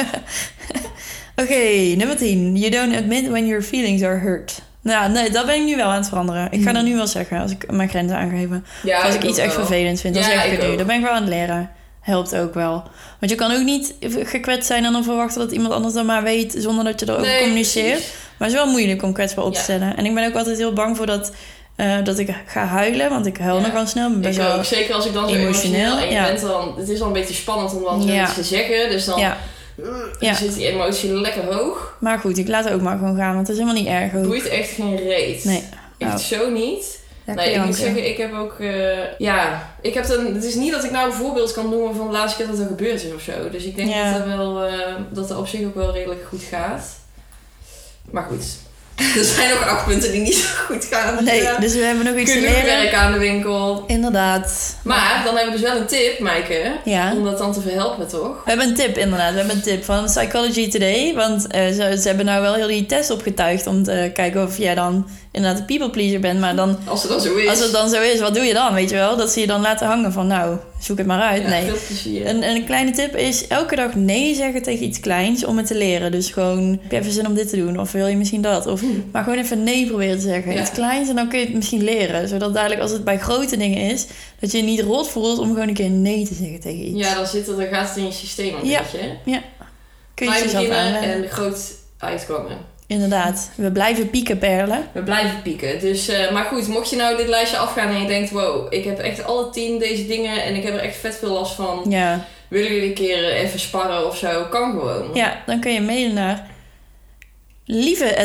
A: Oké, nummer 10. You don't admit when your feelings are hurt. Nou, nee, dat ben ik nu wel aan het veranderen. Ik ga dat nu wel zeggen als ik mijn grenzen aangegeven.
B: Hmm. Ja,
A: Of als ik
B: ook
A: iets echt
B: wel.
A: vervelend vind, dan
B: Ja,
A: zeg ik
B: ik
A: het nu.
B: ook.
A: Dan ben ik wel aan het leren. Helpt ook wel. Want je kan ook niet gekwetst zijn en dan verwachten dat iemand anders dat maar weet zonder dat je erover
B: Nee,
A: communiceert.
B: precies.
A: Maar het is wel moeilijk om kwetsbaar op te
B: Ja.
A: stellen. En ik ben ook altijd heel bang voor dat, eh, dat ik ga huilen, want ik huil
B: Ja,
A: nog wel snel. Ik ben best
B: Ik
A: wel-
B: ook. Zeker als ik dan zo emotioneel,
A: emotioneel,
B: en je
A: ja.
B: bent dan... Het is al een beetje spannend om dan
A: Ja.
B: iets te zeggen. Dus dan
A: Ja, Ja.
B: zit die emotie lekker hoog.
A: maar goed, ik laat het ook maar gewoon gaan, want het is helemaal niet erg. Ook.
B: Boeit echt geen reet.
A: Nee.
B: Echt
A: Oh.
B: zo niet.
A: Ja,
B: nee, ik moet
A: janken.
B: zeggen, ik heb ook... eh, ja, ik heb dan... Het is niet dat ik nou een voorbeeld kan noemen van de laatste keer dat dat gebeurd is of zo. Dus ik denk
A: Ja.
B: dat dat wel... eh, dat dat op zich ook wel redelijk goed gaat. Maar goed. Er zijn ook acht punten die niet zo goed gaan. Dus
A: Nee,
B: ja,
A: dus we hebben nog iets te
B: genoeg
A: leren.
B: werk aan de winkel.
A: Inderdaad.
B: Maar dan hebben we dus wel een tip, Maaike.
A: Ja.
B: Om dat dan te verhelpen, toch?
A: We hebben een tip inderdaad. We hebben een tip van Psychology Today. Want eh, ze, ze hebben nou wel heel die test opgetuigd om te kijken of jij dan inderdaad een people pleaser bent. Maar dan,
B: Als het dan zo is.
A: als het dan zo is, wat doe je dan? Weet je wel? Dat ze je dan laten hangen van nou, zoek het maar uit.
B: Ja,
A: nee.
B: Veel plezier.
A: Een, een kleine tip is elke dag nee zeggen tegen iets kleins om het te leren. Dus gewoon, heb je even zin om dit te doen? Of wil je misschien dat? Of, maar gewoon even nee proberen te zeggen.
B: Hmm. Ja.
A: Iets kleins en dan kun je het misschien leren. Zodat dadelijk als het bij grote dingen is, dat je je niet rot voelt om gewoon een keer nee te zeggen tegen iets.
B: Ja, dan zit het, dan gaat het in je systeem een
A: Ja.
B: beetje.
A: kun je het
B: Klein
A: jezelf
B: beginnen
A: aanleggen.
B: en groot uitkomen.
A: Inderdaad, we blijven pieken perlen.
B: We blijven pieken. Dus, eh, maar goed, mocht je nou dit lijstje afgaan en je denkt... wow, ik heb echt alle tien deze dingen en ik heb er echt vet veel last van.
A: Ja.
B: Willen jullie een keer eh, even sparren of zo? Kan gewoon.
A: ja, dan kun je mailen naar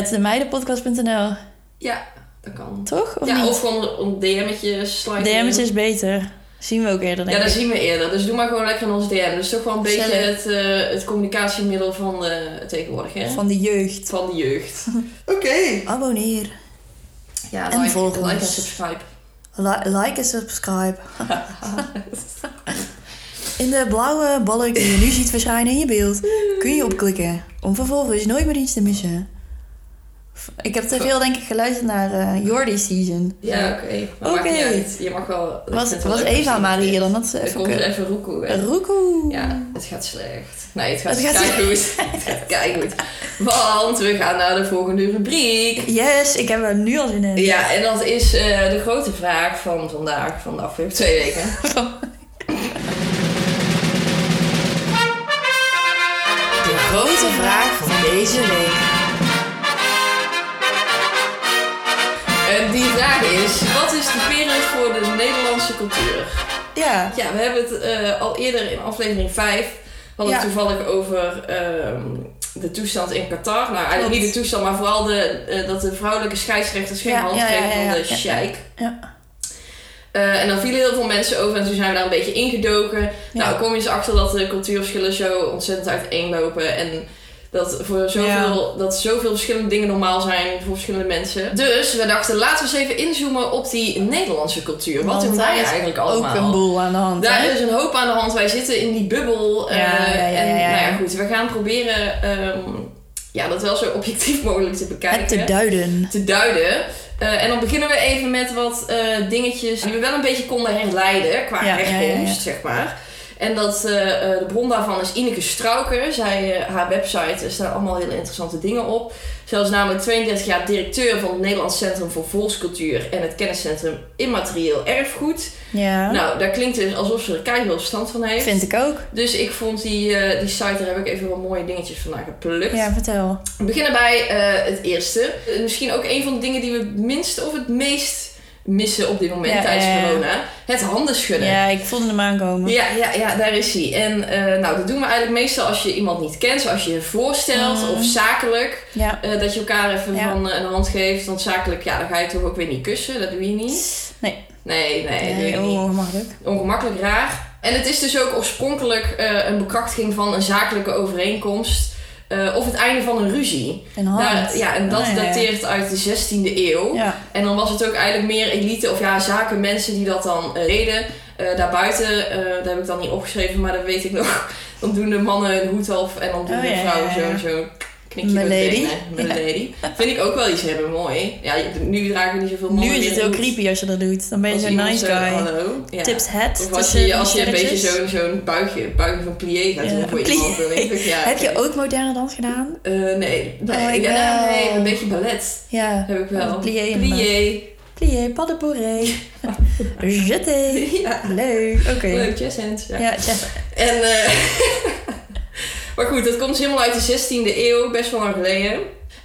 A: lieve.demeidenpodcast.nl,
B: Ja, dat kan.
A: toch? Of
B: ja,
A: niet?
B: of gewoon een DM'tje sliden.
A: DM's is dus beter. Zien we ook eerder, denk
B: Ja, dat
A: ik.
B: zien we eerder. Dus doe maar gewoon lekker in ons DM. Dus toch wel een beetje
A: Gezellig.
B: het, eh, het communicatiemiddel van eh tegenwoordig, hè?
A: Van de jeugd.
B: Van de jeugd. Oké.
A: Abonneer.
B: Ja,
A: En
B: like,
A: volg
B: like
A: ons.
B: en subscribe.
A: Li- like en subscribe. In de blauwe balk die je nu ziet verschijnen in je beeld, kun je opklikken. Om vervolgens nooit meer iets te missen. Ik heb te veel, denk ik, geluisterd naar eh Jordi Season.
B: Ja, oké. Maar
A: Oké.
B: maakt niet uit. Je mag wel... ik vind
A: Was,
B: het wel
A: was
B: leuk als
A: Eva
B: je-
A: maar hier, dan had ze
B: Er
A: even...
B: komt
A: kunnen-
B: er even roekoe weg.
A: Roekoe.
B: Ja, het gaat slecht. Nee, het gaat,
A: Mm. Het gaat
B: keigoed. het gaat keigoed. Want we gaan naar de volgende rubriek.
A: Yes, ik heb er nu al zin in.
B: Ja, en dat is eh, de grote vraag van vandaag, van de afgelopen twee weken.
A: De grote vraag van deze week.
B: En die vraag is, wat is typerend voor de Nederlandse cultuur?
A: Ja,
B: Ja, we hebben het eh, al eerder in aflevering 5 hadden we
A: Ja.
B: het toevallig over ehm, de toestand in Qatar. Nou, eigenlijk
A: Klopt.
B: niet de toestand, maar vooral de, eh, dat de vrouwelijke scheidsrechters geen
A: Ja,
B: hand
A: ja, ja,
B: geven
A: ja,
B: van
A: ja,
B: de
A: ja.
B: sheik.
A: Ja.
B: Eh, en dan vielen heel veel mensen over en toen zijn we daar een beetje ingedoken.
A: Ja.
B: Nou, kom je eens achter dat de cultuurverschillen zo ontzettend uiteenlopen en dat, voor zoveel, dat zoveel verschillende dingen normaal zijn voor verschillende mensen. Dus we dachten, laten we eens even inzoomen op die Nederlandse cultuur. Wat
A: Want
B: doen
A: daar
B: wij
A: is
B: eigenlijk
A: ook
B: allemaal?
A: een boel aan de hand.
B: Daar
A: hè?
B: is een hoop aan de hand. Wij zitten in die bubbel. eh,
A: Ja, ja, ja,
B: en
A: ja, ja.
B: nou ja, goed, we gaan proberen ehm, ja, dat wel zo objectief mogelijk te bekijken.
A: Het te duiden.
B: te duiden. Eh, en dan beginnen we even met wat eh, dingetjes die we wel een beetje konden herleiden qua
A: Ja, ja, ja,
B: herkomst,
A: ja.
B: zeg maar. En dat, eh, eh, de bron daarvan is Ineke Strauker. Zij, eh, haar website, er staan allemaal hele interessante dingen op. Zij is namelijk 32 jaar directeur van het Nederlands Centrum voor Volkscultuur en het Kenniscentrum Immaterieel Erfgoed.
A: Ja,
B: Nou, daar klinkt dus alsof ze er keihard verstand van heeft.
A: vind ik ook.
B: Dus ik vond die, eh, die site, daar heb ik even wel mooie dingetjes vandaan geplukt.
A: Ja, vertel.
B: We beginnen bij eh, het eerste. Eh, Misschien ook een van de dingen die we het minst of het meest missen op dit moment
A: Ja,
B: tijdens
A: ja, ja.
B: corona. Het handen schudden.
A: Ja, ik voelde hem aankomen.
B: Ja, ja, ja, daar is hij. En eh, nou, dat doen we eigenlijk meestal als je iemand niet kent, zoals je je voorstelt
A: Mm.
B: of zakelijk.
A: Ja,
B: eh, dat je elkaar even
A: Ja.
B: van eh, een hand geeft. Want zakelijk, ja, dan ga je toch ook weer niet kussen. Dat doe je niet.
A: Nee. Eh,
B: Nee, nee, dat doe je
A: nee, oh.
B: niet.
A: ongemakkelijk.
B: Ongemakkelijk raar. En het is dus ook oorspronkelijk eh, een bekrachtiging van een zakelijke overeenkomst. eh, of het einde van een ruzie.
A: Een hand.
B: Daar- ja, en dat
A: Ah, ja, ja.
B: dateert uit de 16e eeuw.
A: Ja,
B: En dan was het ook eigenlijk meer elite of ja, zakenmensen die dat dan eh, deden. Eh, daarbuiten, eh, daar heb ik dan niet opgeschreven, maar dat weet ik nog. Dan doen de mannen hun hoed af en dan doen
A: Oh,
B: de
A: ja,
B: vrouwen
A: ja, ja.
B: zo, zo knikje met
A: Milady.
B: benen. Milady. Vind ik ook wel iets hebben, mooi. Ja, je- nu dragen niet zoveel mannen
A: nu is
B: meer
A: het
B: een
A: heel
B: hoed.
A: creepy als je dat doet. Dan ben je
B: Als
A: zo'n
B: iemand
A: nice
B: zo,
A: guy.
B: Hallo. Ja.
A: Tips hat.
B: Of als
A: tussen
B: je, als
A: die
B: je een beetje
A: sterretjes.
B: zo'n zo'n buigje, buigje van plié gaat
A: Ja,
B: doen voor
A: plié.
B: iemand, dan denk ik, ja...
A: Heb je
B: oké.
A: ook moderne dans gedaan?
B: Eh, nee, nee,
A: Oh, ik
B: ja,
A: wel.
B: nee, een beetje ballet
A: Ja.
B: heb ik wel.
A: Oh, plié inderdaad.
B: Plié.
A: Plié, pas de bourrée. Jeté.
B: Ja.
A: Leuk. Oké.
B: Leuk, jazz hands. Ja.
A: Ja, ja.
B: En, eh, maar goed, dat komt dus helemaal uit de 16e eeuw, best wel lang geleden.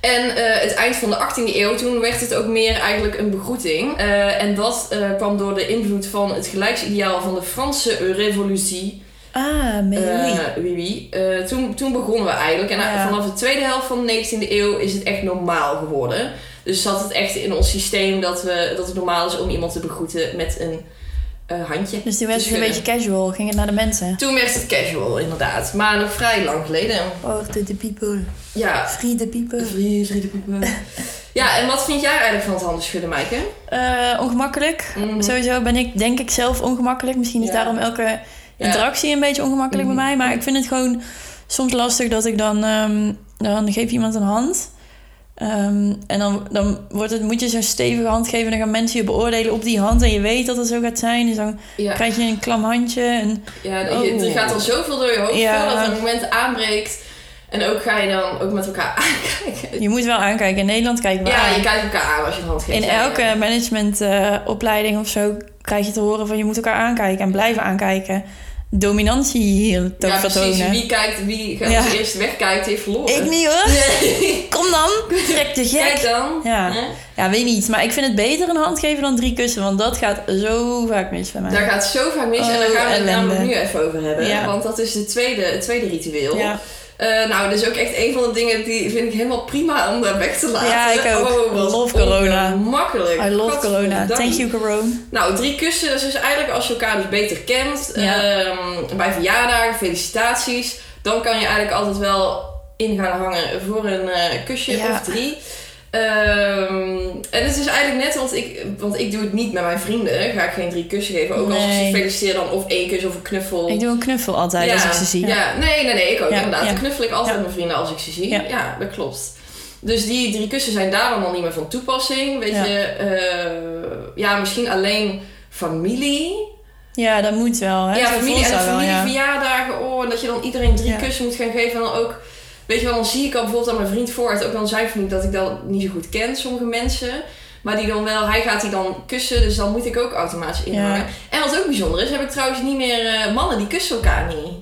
B: En eh, het eind van de 18e eeuw, toen werd het ook meer eigenlijk een begroeting. Eh, en dat eh, kwam door de invloed van het gelijksideaal van de Franse revolutie.
A: Ah, Melanie.
B: Eh, oui, oui. Eh, toen, toen begonnen we eigenlijk. En eh,
A: Ja.
B: vanaf de tweede helft van de 19e eeuw is het echt normaal geworden. Dus zat het echt in ons systeem dat, we, dat het normaal is om iemand te begroeten met een eh, handje.
A: dus toen werd
B: te
A: het een
B: schudden.
A: beetje casual. Ging het naar de mensen.
B: Toen werd het casual, inderdaad. Maar nog vrij lang geleden.
A: Oh, the, the people.
B: Ja.
A: Free the people.
B: Ja, en wat vind jij eigenlijk van het handen schudden, Maaike?
A: Eh, ongemakkelijk.
B: Mhm.
A: Sowieso ben ik denk ik zelf ongemakkelijk. Misschien is
B: Ja.
A: daarom elke
B: Ja.
A: interactie een beetje ongemakkelijk
B: Mhm.
A: bij mij. Maar ik vind het gewoon soms lastig dat ik dan... ehm, dan geef je iemand een hand. Ehm, en dan, dan wordt het, moet je zo'n stevige hand geven. En dan gaan mensen je beoordelen op die hand. En je weet dat het zo gaat zijn. Dus dan
B: Ja,
A: krijg je een klam handje. En,
B: ja je- er
A: Oh.
B: gaat al zoveel door je hoofd
A: Ja.
B: voordat het moment aanbreekt. En ook ga je dan ook met elkaar aankijken.
A: je moet wel aankijken. In Nederland kijken we
B: Ja,
A: aan.
B: je kijkt elkaar aan als je een hand geeft.
A: In
B: Ja, ja.
A: elke managementopleiding of zo krijg je te horen van je moet elkaar aankijken en blijven aankijken. Dominantie hier te
B: Ja, precies.
A: vertonen.
B: Wie, kijkt, wie gaat
A: Ja.
B: als eerst wegkijkt, heeft verloren.
A: Ik niet hoor.
B: Nee.
A: Kom dan. Trek de
B: Kijk
A: gek.
B: dan.
A: Ja.
B: Hè?
A: Ja, weet niet. Maar ik vind het beter een hand geven dan drie kussen. Want dat gaat zo vaak mis bij mij.
B: Daar gaat zo vaak mis en daar
A: Oh,
B: gaan we het
A: ellende.
B: namelijk nu even over hebben.
A: Ja.
B: Want dat is de tweede, het tweede ritueel.
A: Ja.
B: Eh, nou, dat is ook echt een van de dingen die vind ik helemaal prima om daar weg te laten. Oh,
A: Ja, ik ook.
B: wat
A: Love corona.
B: Makkelijk.
A: I love corona. Thank you, corona.
B: Nou, drie kussen, dat is dus eigenlijk als je elkaar dus beter kent.
A: Ja.
B: ehm, bij verjaardagen, felicitaties. Dan kan je eigenlijk altijd wel in gaan hangen voor een eh, kusje
A: Ja.
B: of drie. Ehm, en het is eigenlijk net, want ik, want ik doe het niet met mijn vrienden. Ga ik geen drie kussen geven. Ook als ik ze
A: Nee.
B: feliciteer dan of één kus of een knuffel.
A: Ik doe een knuffel altijd als ik ze zie.
B: Ja. nee, nee, nee, ik ook
A: Ja,
B: inderdaad.
A: ja.
B: Dan knuffel ik altijd
A: Ja.
B: mijn vrienden als ik ze zie. Ja.
A: Ja.
B: dat klopt. Dus die drie kussen zijn daar dan al niet meer van toepassing. Weet
A: Ja.
B: je, eh, ja, misschien alleen familie.
A: Ja, dat moet wel. Hè?
B: ja,
A: Zo
B: familie
A: voelt
B: en
A: dat wel, ja.
B: familieverjaardagen. Oh, en dat je dan iedereen drie
A: Ja.
B: kussen moet gaan geven. En dan ook, weet je wel, dan zie ik al bijvoorbeeld aan mijn vriend voor het. Ook dan zijn vriend dat ik dat niet zo goed ken, sommige mensen. Maar die dan wel, hij gaat die dan kussen, dus dan moet ik ook automatisch inhangen.
A: Ja.
B: En wat ook bijzonder is, heb ik trouwens niet meer eh, mannen die kussen elkaar niet.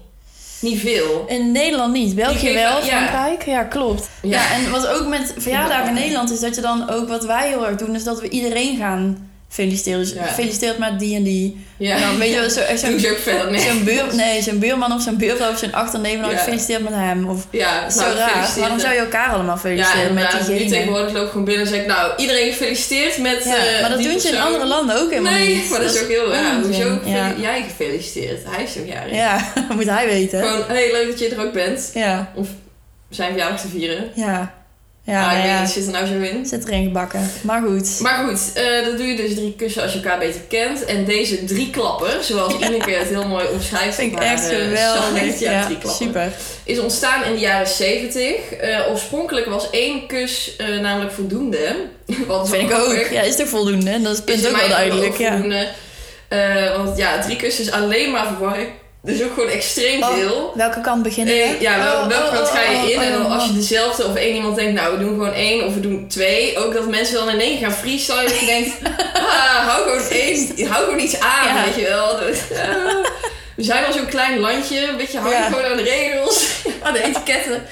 B: Niet veel.
A: In Nederland niet. België
B: geven-
A: wel,
B: ja.
A: Frankrijk. Ja, klopt.
B: Ja.
A: Ja. en wat ook met verjaardagen in Nederland is dat je dan ook wat wij heel erg doen, is dat we iedereen gaan feliciteren. Dus
B: Ja.
A: gefeliciteerd met die en die.
B: Ja,
A: En dan weet je wel, zo, echt
B: doe
A: zo'n
B: ze ook verder nee.
A: zo'n buur, nee, zo'n buurman of zo'n buurvrouw of zo'n achterneef, dan
B: Ja.
A: gefeliciteerd met hem. Of
B: Ja,
A: zo
B: nou,
A: raar.
B: gefeliciteerd.
A: Waarom zou je elkaar allemaal
B: ja,
A: feliciteren met
B: inderdaad. Nu
A: diegene?
B: tegenwoordig loop ik gewoon binnen en zeg ik, nou, iedereen gefeliciteerd met
A: Ja,
B: eh,
A: maar dat
B: die
A: doen ze in
B: persoon.
A: andere landen ook helemaal
B: Nee,
A: niet.
B: maar dat, is ook heel raar.
A: onzin.
B: Hoezo gefeli-
A: Ja.
B: jij gefeliciteerd? Hij is toch jarig?
A: Ja, moet hij weten.
B: Gewoon, hey, leuk dat je er ook bent.
A: Ja,
B: Zijn verjaardag te vieren.
A: ja.
B: Ja,
A: Ja, nou
B: ik weet
A: ja.
B: niet, zit er nou zo in?
A: Zit erin gebakken. Maar goed.
B: Maar goed, eh dat doe je dus drie kussen als je elkaar beter kent. En deze drie klappen, zoals Ineke het heel mooi omschrijft.
A: Vind ik
B: op haar,
A: echt
B: eh,
A: geweldig.
B: site. Ja,
A: Ja,
B: drie klappen.
A: super.
B: is ontstaan in de jaren 70. Eh, oorspronkelijk was één kus eh, namelijk voldoende. Wat
A: Dat vind ik ook. Ja, is er voldoende? Dat is het
B: Is
A: punt
B: in
A: ook
B: mijn
A: wel
B: ogen
A: duidelijk.
B: ook
A: Ja.
B: voldoende. Eh, want ja, drie kussen is alleen maar verwarring Dus ook gewoon extreem
A: Oh,
B: veel.
A: Welke kant beginnen we?
B: Eh, ja, wel,
A: Oh,
B: welke
A: oh,
B: kant ga
A: oh,
B: je in?
A: oh,
B: en dan
A: oh,
B: als je
A: oh.
B: dezelfde of één iemand denkt, nou we doen gewoon één of we doen twee. Ook dat mensen dan in één gaan freestylen. Dat je denkt, ah, hou gewoon één, hou gewoon iets aan,
A: Ja.
B: weet je wel. Dat- ah. we zijn al zo'n klein landje, een beetje hang
A: Ja.
B: gewoon aan de regels, aan de etiketten.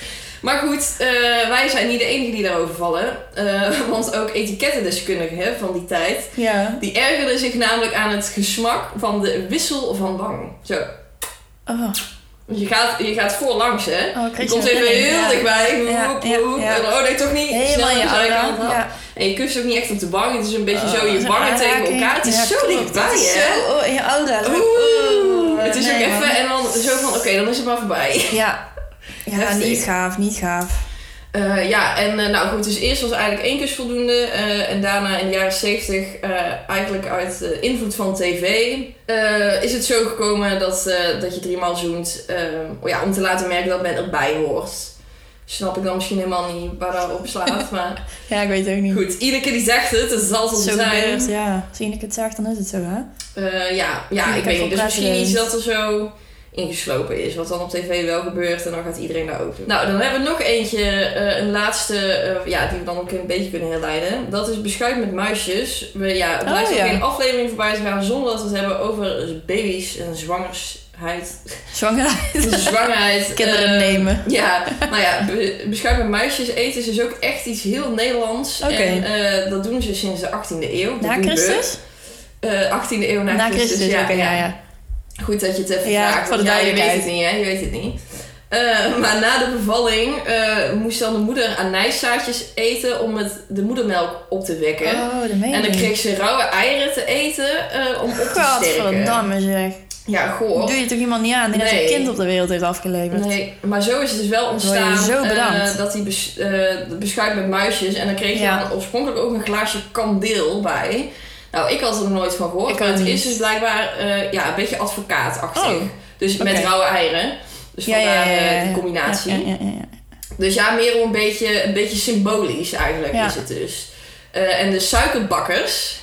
B: Maar goed, eh, wij zijn niet de enige die daarover vallen. Eh, want ook etikettendeskundigen hè, van die tijd,
A: oh. Ja.
B: die ergerden zich namelijk aan het gesmak van de wissel van wang. Zo,
A: Oh,
B: want je gaat, je gaat voorlangs hè.
A: oh
B: Je komt even heel dichtbij.
A: Ja,
B: Woep,
A: ja,
B: woep.
A: ja.
B: En dan, oh nee, toch niet.
A: Helemaal
B: Snel
A: in je
B: de zijkant.
A: aura. Ja.
B: En je kust ook niet echt op de bank. Het is een beetje
A: Oh,
B: zo je
A: zo'n
B: wangen tegen
A: aanraking.
B: elkaar. Het is
A: Ja,
B: zo
A: klopt.
B: dichtbij,
A: Het is
B: hè?
A: zo- oh, in je aura. Oh,
B: Oeh. Het is
A: Nee,
B: ook
A: man.
B: even en dan zo van, oké, dan is het maar voorbij.
A: Ja. Ja,
B: Heftig.
A: niet gaaf, niet gaaf.
B: Eh, ja, en eh, nou goed, dus eerst was eigenlijk één kus voldoende. eh, en daarna in de jaren zeventig, eh, eigenlijk uit de invloed van tv, eh, is het zo gekomen dat, eh, dat je driemaal zoent. eh, ja, om te laten merken dat men erbij hoort. Snap ik dan misschien helemaal niet waar dat op slaat, maar...
A: Ja, ik weet het ook niet.
B: Goed, iedere keer die zegt het, dus het zal zo
A: Zo
B: zijn.
A: gebeurt, ja. Zien ik het zag, dan is het zo, hè?
B: Eh, ja, ja,
A: Iedere
B: ik
A: keer
B: weet
A: voor
B: niet. Dus misschien
A: president.
B: iets dat er zo ingeslopen is, wat dan op tv wel gebeurt en dan gaat iedereen daar ook doen. Nou, dan hebben we nog eentje, eh, een laatste, eh, ja, die we dan ook een beetje kunnen herleiden. Dat is beschuit met muisjes. We, ja, het
A: Oh,
B: blijft
A: ja.
B: ook geen aflevering voorbij te gaan zonder dat we het hebben over baby's en zwangersheid.
A: Zwangerheid.
B: De zwangerheid.
A: Kinderen
B: eh,
A: nemen.
B: Ja, nou ja, be- beschuit met muisjes eten is dus ook echt iets heel Nederlands.
A: Oké.
B: En eh, dat doen ze sinds de 18e eeuw. Dat
A: Na
B: doen we.
A: Christus?
B: Eh, 18e eeuw na,
A: Na Christus,
B: ja,
A: oké, ja,
B: ja.
A: ja.
B: Goed dat je het even
A: Ja,
B: vraagt.
A: voor de
B: want ja, Je
A: duidelijkheid.
B: weet het niet, hè? Je weet het niet. Eh, maar na de bevalling eh, moest dan de moeder anijszaadjes eten om het, de moedermelk op te wekken.
A: Oh, de meen
B: en dan kreeg ze rauwe eieren te eten eh, om op te sterken.
A: Godverdamme zeg.
B: Ja, goor.
A: Doe je toch iemand niet aan die net
B: Nee.
A: een kind op de wereld heeft afgeleverd?
B: Nee, maar zo is het dus wel
A: word je
B: ontstaan
A: zo bedankt.
B: eh, dat hij bes, eh, beschuit met muisjes. En dan kreeg je
A: Ja.
B: dan oorspronkelijk ook een glaasje kandeel bij. Nou, ik had er nog nooit van gehoord.
A: Ik
B: maar
A: ook
B: het
A: niet.
B: is dus blijkbaar eh, ja, een beetje advocaatachtig.
A: Oh,
B: dus
A: oké.
B: met rauwe eieren. Dus vandaar eh, de combinatie.
A: Ja, ja, ja, ja.
B: Dus ja, meer een beetje, een beetje symbolisch eigenlijk
A: Ja.
B: is het dus. Eh, en de suikerbakkers,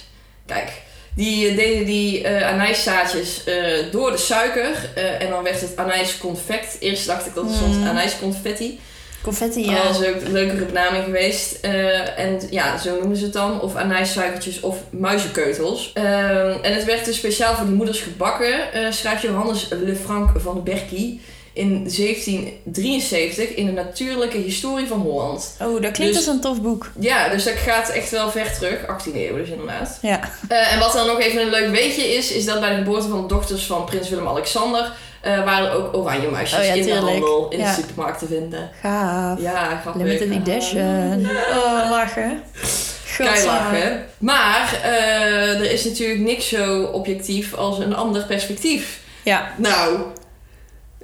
B: kijk, die eh, deden die eh anijszaadjes eh, door de suiker. eh, en dan werd het anijsconfect. Eerst dacht ik dat het soms
A: Mm.
B: anijsconfetti.
A: Confetti,
B: Ja.
A: ja.
B: Dat is ook een leukere benaming geweest. Eh, en ja, zo noemen ze het dan. Of anijssuikertjes of muizenkeutels. Ehm, en het werd dus speciaal voor de moeders gebakken, eh, schrijft Johannes Lefranc van Berky in 1773 in de natuurlijke historie van Holland.
A: Oh, dat klinkt
B: Dus-
A: als een tof boek.
B: Ja, dus dat gaat echt wel ver terug. 18e eeuw dus inderdaad.
A: Ja.
B: Eh, en wat dan nog even een leuk weetje is, is dat bij de geboorte van de dochters van prins Willem-Alexander... eh, waren ook oranje muisjes
A: Oh ja,
B: in de
A: tuurlijk.
B: handel, in
A: Ja.
B: de supermarkt te vinden.
A: Gaaf.
B: Ja, grappig.
A: Limited edition. Oh, lachen.
B: Keilachen. Maar eh, er is natuurlijk niks zo objectief als een ander perspectief.
A: Ja,
B: Nou,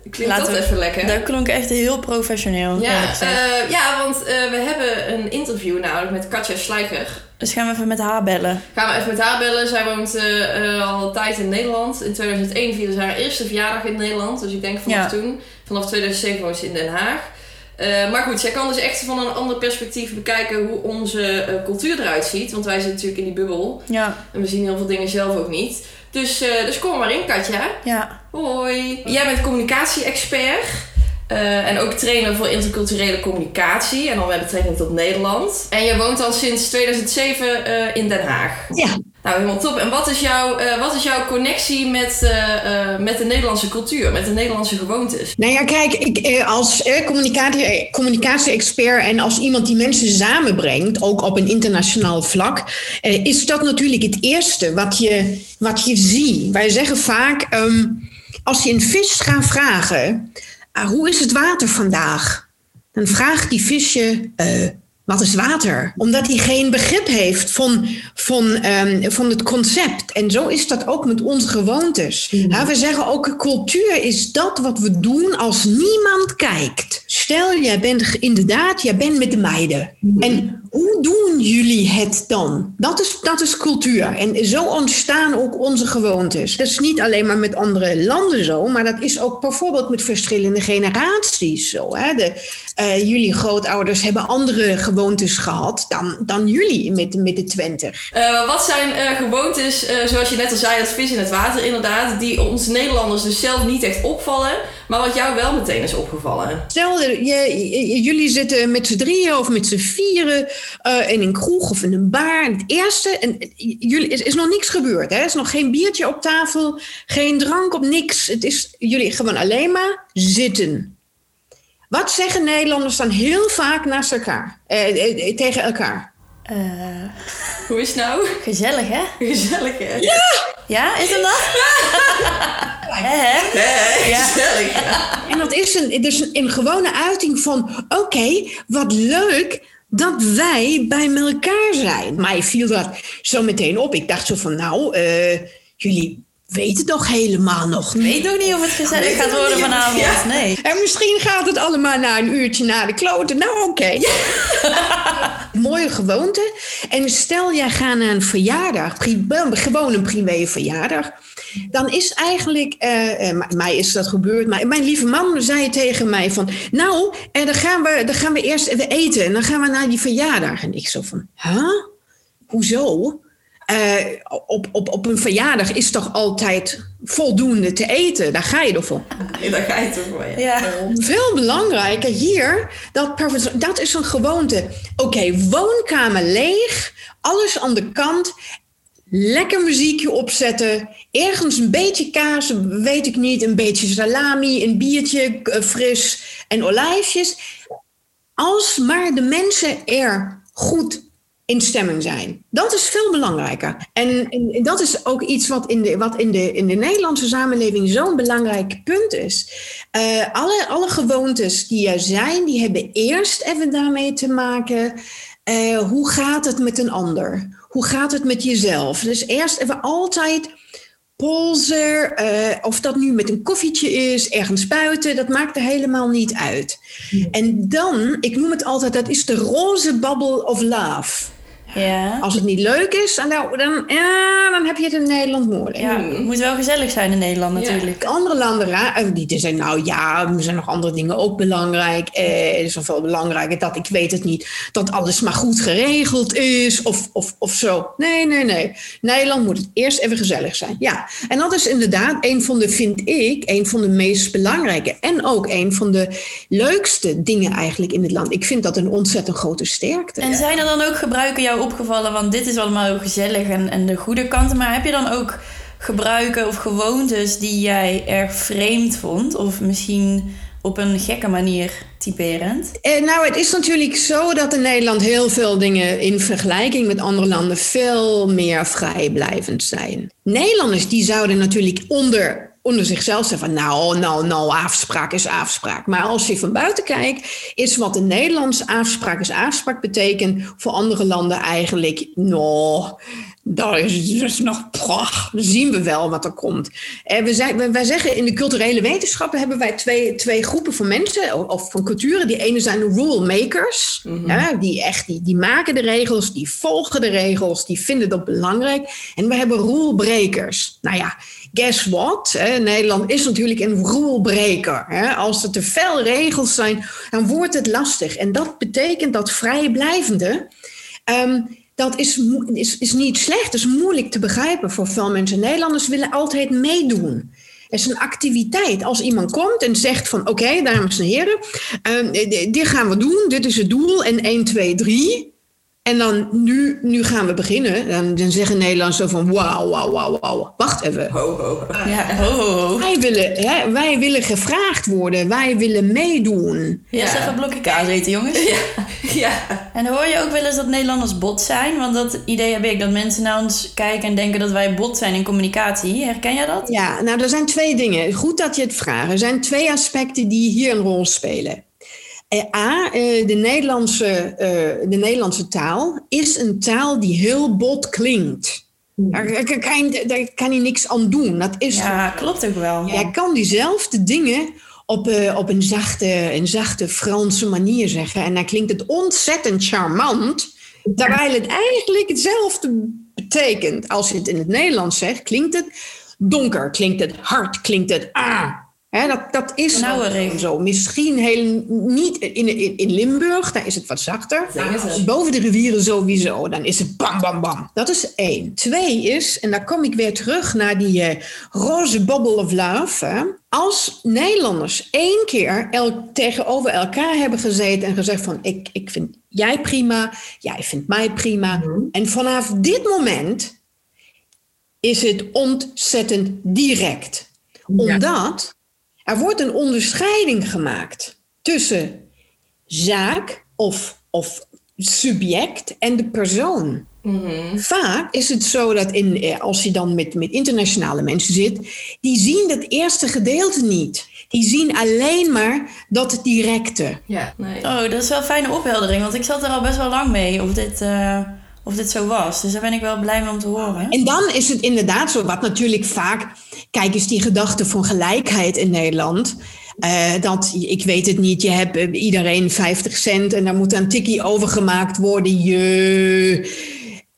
B: klinkt
A: Laten
B: dat
A: we-
B: even lekker.
A: dat klonk echt heel professioneel. eerlijk
B: ja,
A: gezegd.
B: eh, ja, want eh, we hebben een interview namelijk met Katja Slijker.
A: Dus gaan we even met haar bellen.
B: Gaan we even met haar bellen. Zij woont eh, eh, al een tijd in Nederland. In 2001 vierde ze haar eerste verjaardag in Nederland. Dus ik denk vanaf
A: Ja.
B: toen. Vanaf 2007 woont ze in Den Haag. Eh, maar goed, zij kan dus echt van een ander perspectief bekijken hoe onze eh, cultuur eruit ziet. Want wij zitten natuurlijk in die bubbel.
A: Ja,
B: En we zien heel veel dingen zelf ook niet. Dus, eh, dus kom maar in, Katja.
A: ja.
B: Hoi. Jij bent communicatie-expert. eh, en ook trainer voor interculturele communicatie. En dan met betrekking tot Nederland. En je woont al sinds 2007 eh, in Den Haag.
C: Ja.
B: Nou, helemaal top. En wat is, jouw eh, wat is jouw connectie met, eh, eh, met de Nederlandse cultuur? Met de Nederlandse gewoontes?
C: Nou ja, kijk, ik, eh, als eh, communicatie- eh, communicatie-expert en als iemand die mensen samenbrengt, ook op een internationaal vlak, eh, is dat natuurlijk het eerste wat je, wat je ziet. Wij zeggen vaak, ehm, als je een vis gaat vragen, ah, hoe is het water vandaag? Dan vraagt die visje, eh, wat is water? Omdat hij geen begrip heeft van, van, ehm, van het concept. En zo is dat ook met onze gewoontes. Ja, we zeggen ook, cultuur is dat wat we doen als niemand kijkt. Stel, jij bent ge- inderdaad, jij bent met de meiden. En hoe doen jullie het dan? Dat is, dat is cultuur. En zo ontstaan ook onze gewoontes. Dat is niet alleen maar met andere landen zo, maar dat is ook bijvoorbeeld met verschillende generaties zo. Hè? De, eh, jullie grootouders hebben andere gewoontes gewoontes gehad dan, dan jullie met, met de twintig.
B: Eh, wat zijn eh, gewoontes, eh, zoals je net al zei, dat vis in het water inderdaad, die ons Nederlanders dus zelf niet echt opvallen, maar wat jou wel meteen is opgevallen?
C: Stel, eh, je, je- jullie zitten met z'n drieën of met z'n vieren eh, in een kroeg of in een bar. Het eerste, en, eh, jullie, is, is nog niks gebeurd. hè? Er is nog geen biertje op tafel, geen drank op niks. Het is jullie gewoon alleen maar zitten. Wat zeggen Nederlanders dan heel vaak naast elkaar? Eh, eh, eh, tegen elkaar?
A: Eh,
B: Hoe is het nou?
A: gezellig, hè?
B: Gezellig hè?
A: Ja, is het dat? Hè, hè?
B: Hè?
A: Ja.
B: gezellig.
C: En dat is een, het is een, een gewone uiting van: oké, wat leuk dat wij bij elkaar zijn. Mij viel dat zo meteen op. Ik dacht zo van: nou, eh, jullie weten toch helemaal nog niet.
A: Weet nog niet of het gezellig
B: Weet
A: gaat
B: nog
A: worden
B: niet of-
A: vanavond.
B: ja.
A: Nee.
C: En misschien gaat het allemaal na een uurtje naar de kloten. Nou, oké. Mooie gewoonte. En stel, jij gaat naar een verjaardag, pri- gewoon een privé verjaardag. Dan is eigenlijk, eh, eh, m- mij is dat gebeurd, maar mijn lieve man zei tegen mij van... Nou, en dan, gaan we, dan gaan we eerst even eten en dan gaan we naar die verjaardag. En ik zo van, huh? Hoezo? Eh, op, op, op een verjaardag is toch altijd voldoende te eten? Daar ga je ervoor
B: Nee, daar ga je toch voor. Ja.
A: Ja.
C: veel belangrijker hier, dat, per- dat is een gewoonte. Oké, woonkamer leeg, alles aan de kant, lekker muziekje opzetten, ergens een beetje kaas, weet ik niet, een beetje salami, een biertje eh, fris en olijfjes. Als maar de mensen er goed in stemming zijn. Dat is veel belangrijker. En, en dat is ook iets wat in de, wat in de, in de Nederlandse samenleving zo'n belangrijk punt is. Eh, alle, alle gewoontes die er zijn, die hebben eerst even daarmee te maken. eh, hoe gaat het met een ander? Hoe gaat het met jezelf? Dus eerst even altijd polsen, eh, of dat nu met een koffietje is, ergens buiten, dat maakt er helemaal niet uit. En dan, ik noem het altijd, dat is de roze bubble of love.
A: Ja.
C: Als het niet leuk is, dan, dan, ja, dan heb je het in Nederland moeilijk.
A: ja. Het moet wel gezellig zijn in Nederland
B: Ja.
A: natuurlijk.
C: Andere landen ra- eh, die zeggen, nou ja, er zijn nog andere dingen ook belangrijk. Eh, het is nog veel belangrijker dat, ik weet het niet, dat alles maar goed geregeld is of, of, of zo. Nee, nee, nee. Nederland moet het eerst even gezellig zijn. Ja, en dat is inderdaad een van de, vind ik, een van de meest belangrijke en ook een van de leukste dingen eigenlijk in het land. Ik vind dat een ontzettend grote sterkte.
A: En zijn er dan ook gebruiken jou opgevallen? Want dit is allemaal heel gezellig en, en de goede kanten. Maar heb je dan ook gebruiken of gewoontes die jij erg vreemd vond? Of misschien op een gekke manier typerend?
C: Eh, nou, het is natuurlijk zo dat in Nederland heel veel dingen in vergelijking met andere landen veel meer vrijblijvend zijn. Nederlanders die zouden natuurlijk onder, onder zichzelf zeggen van nou, nou, nou, afspraak is afspraak. Maar als je van buiten kijkt, is wat in Nederlands afspraak is afspraak betekent voor andere landen eigenlijk, nou, dat is, dat is nog prach. Dan zien we wel wat er komt. Eh, we zijn, we- wij zeggen in de culturele wetenschappen hebben wij twee, twee groepen van mensen o- of van culturen. Die ene zijn de rule makers. hè, die, echt, die, die maken de regels, die volgen de regels, die vinden dat belangrijk. En we hebben rule breakers. Nou ja, guess what? hè, Nederland is natuurlijk een rule breaker. hè. Als er te veel regels zijn, dan wordt het lastig. En dat betekent dat vrijblijvende. Ehm, dat is, mo- is, is niet slecht, is moeilijk te begrijpen voor veel mensen. Nederlanders willen altijd meedoen. Het is een activiteit. Als iemand komt en zegt van oké, dames en heren, ehm, eh, di- dit gaan we doen, dit is het doel en 1, 2, 3. En dan nu, nu gaan we beginnen. Dan, dan zeggen Nederlanders zo van wauw, wauw, wauw, wauw. Wacht even.
B: Ho, ho, ho.
A: Ja, ho, ho, ho.
C: Wij willen, hè, wij willen gevraagd worden, wij willen meedoen.
A: Eerst
B: Ja.
A: even een blokje kaas eten, jongens.
B: Ja.
A: En hoor je ook wel eens dat Nederlanders bot zijn? Want dat idee heb ik, dat mensen naar ons kijken en denken dat wij bot zijn in communicatie. Herken jij dat?
C: Ja, nou, er zijn twee dingen. Goed dat je het vraagt. Er zijn twee aspecten die hier een rol spelen. Eh, A, eh, de Nederlandse, eh, de Nederlandse taal is een taal die heel bot klinkt. Daar, daar kan je, daar kan je niks aan doen. Dat is
A: Hmm. Ja, klopt ook wel.
C: Jij kan diezelfde dingen op, eh, op een, zachte, een zachte Franse manier zeggen. En dan klinkt het ontzettend charmant. Terwijl het eigenlijk hetzelfde betekent. Als je het in het Nederlands zegt, klinkt het donker, klinkt het hard, klinkt het ah. Hè, dat, dat is
A: Nauwe
C: zo. Misschien heel, niet in, in, in Limburg, daar is het wat zachter.
B: Zeggen ze.
C: Boven de rivieren sowieso, dan is het bam, bam, bam. Dat is één. Twee is, en daar kom ik weer terug naar die eh, roze bubble of love. hè. Als Nederlanders één keer el- tegenover elkaar hebben gezeten en gezegd van... Ik, ik vind jij prima, jij vindt mij prima. En vanaf dit moment is het ontzettend direct. Omdat er wordt een onderscheiding gemaakt tussen zaak of, of subject en de persoon. Vaak is het zo dat in, eh, als je dan met, met internationale mensen zit, die zien dat eerste gedeelte niet. Die zien alleen maar dat directe.
B: Ja, nee.
A: Oh, dat is wel een fijne opheldering, want ik zat er al best wel lang mee of dit, eh, of dit zo was. Dus daar ben ik wel blij mee om te horen.
C: En dan is het inderdaad zo, wat natuurlijk vaak, kijk eens die gedachte van gelijkheid in Nederland. eh, dat, ik weet het niet, je hebt eh, iedereen 50 cent en daar moet een tikkie overgemaakt worden. Je,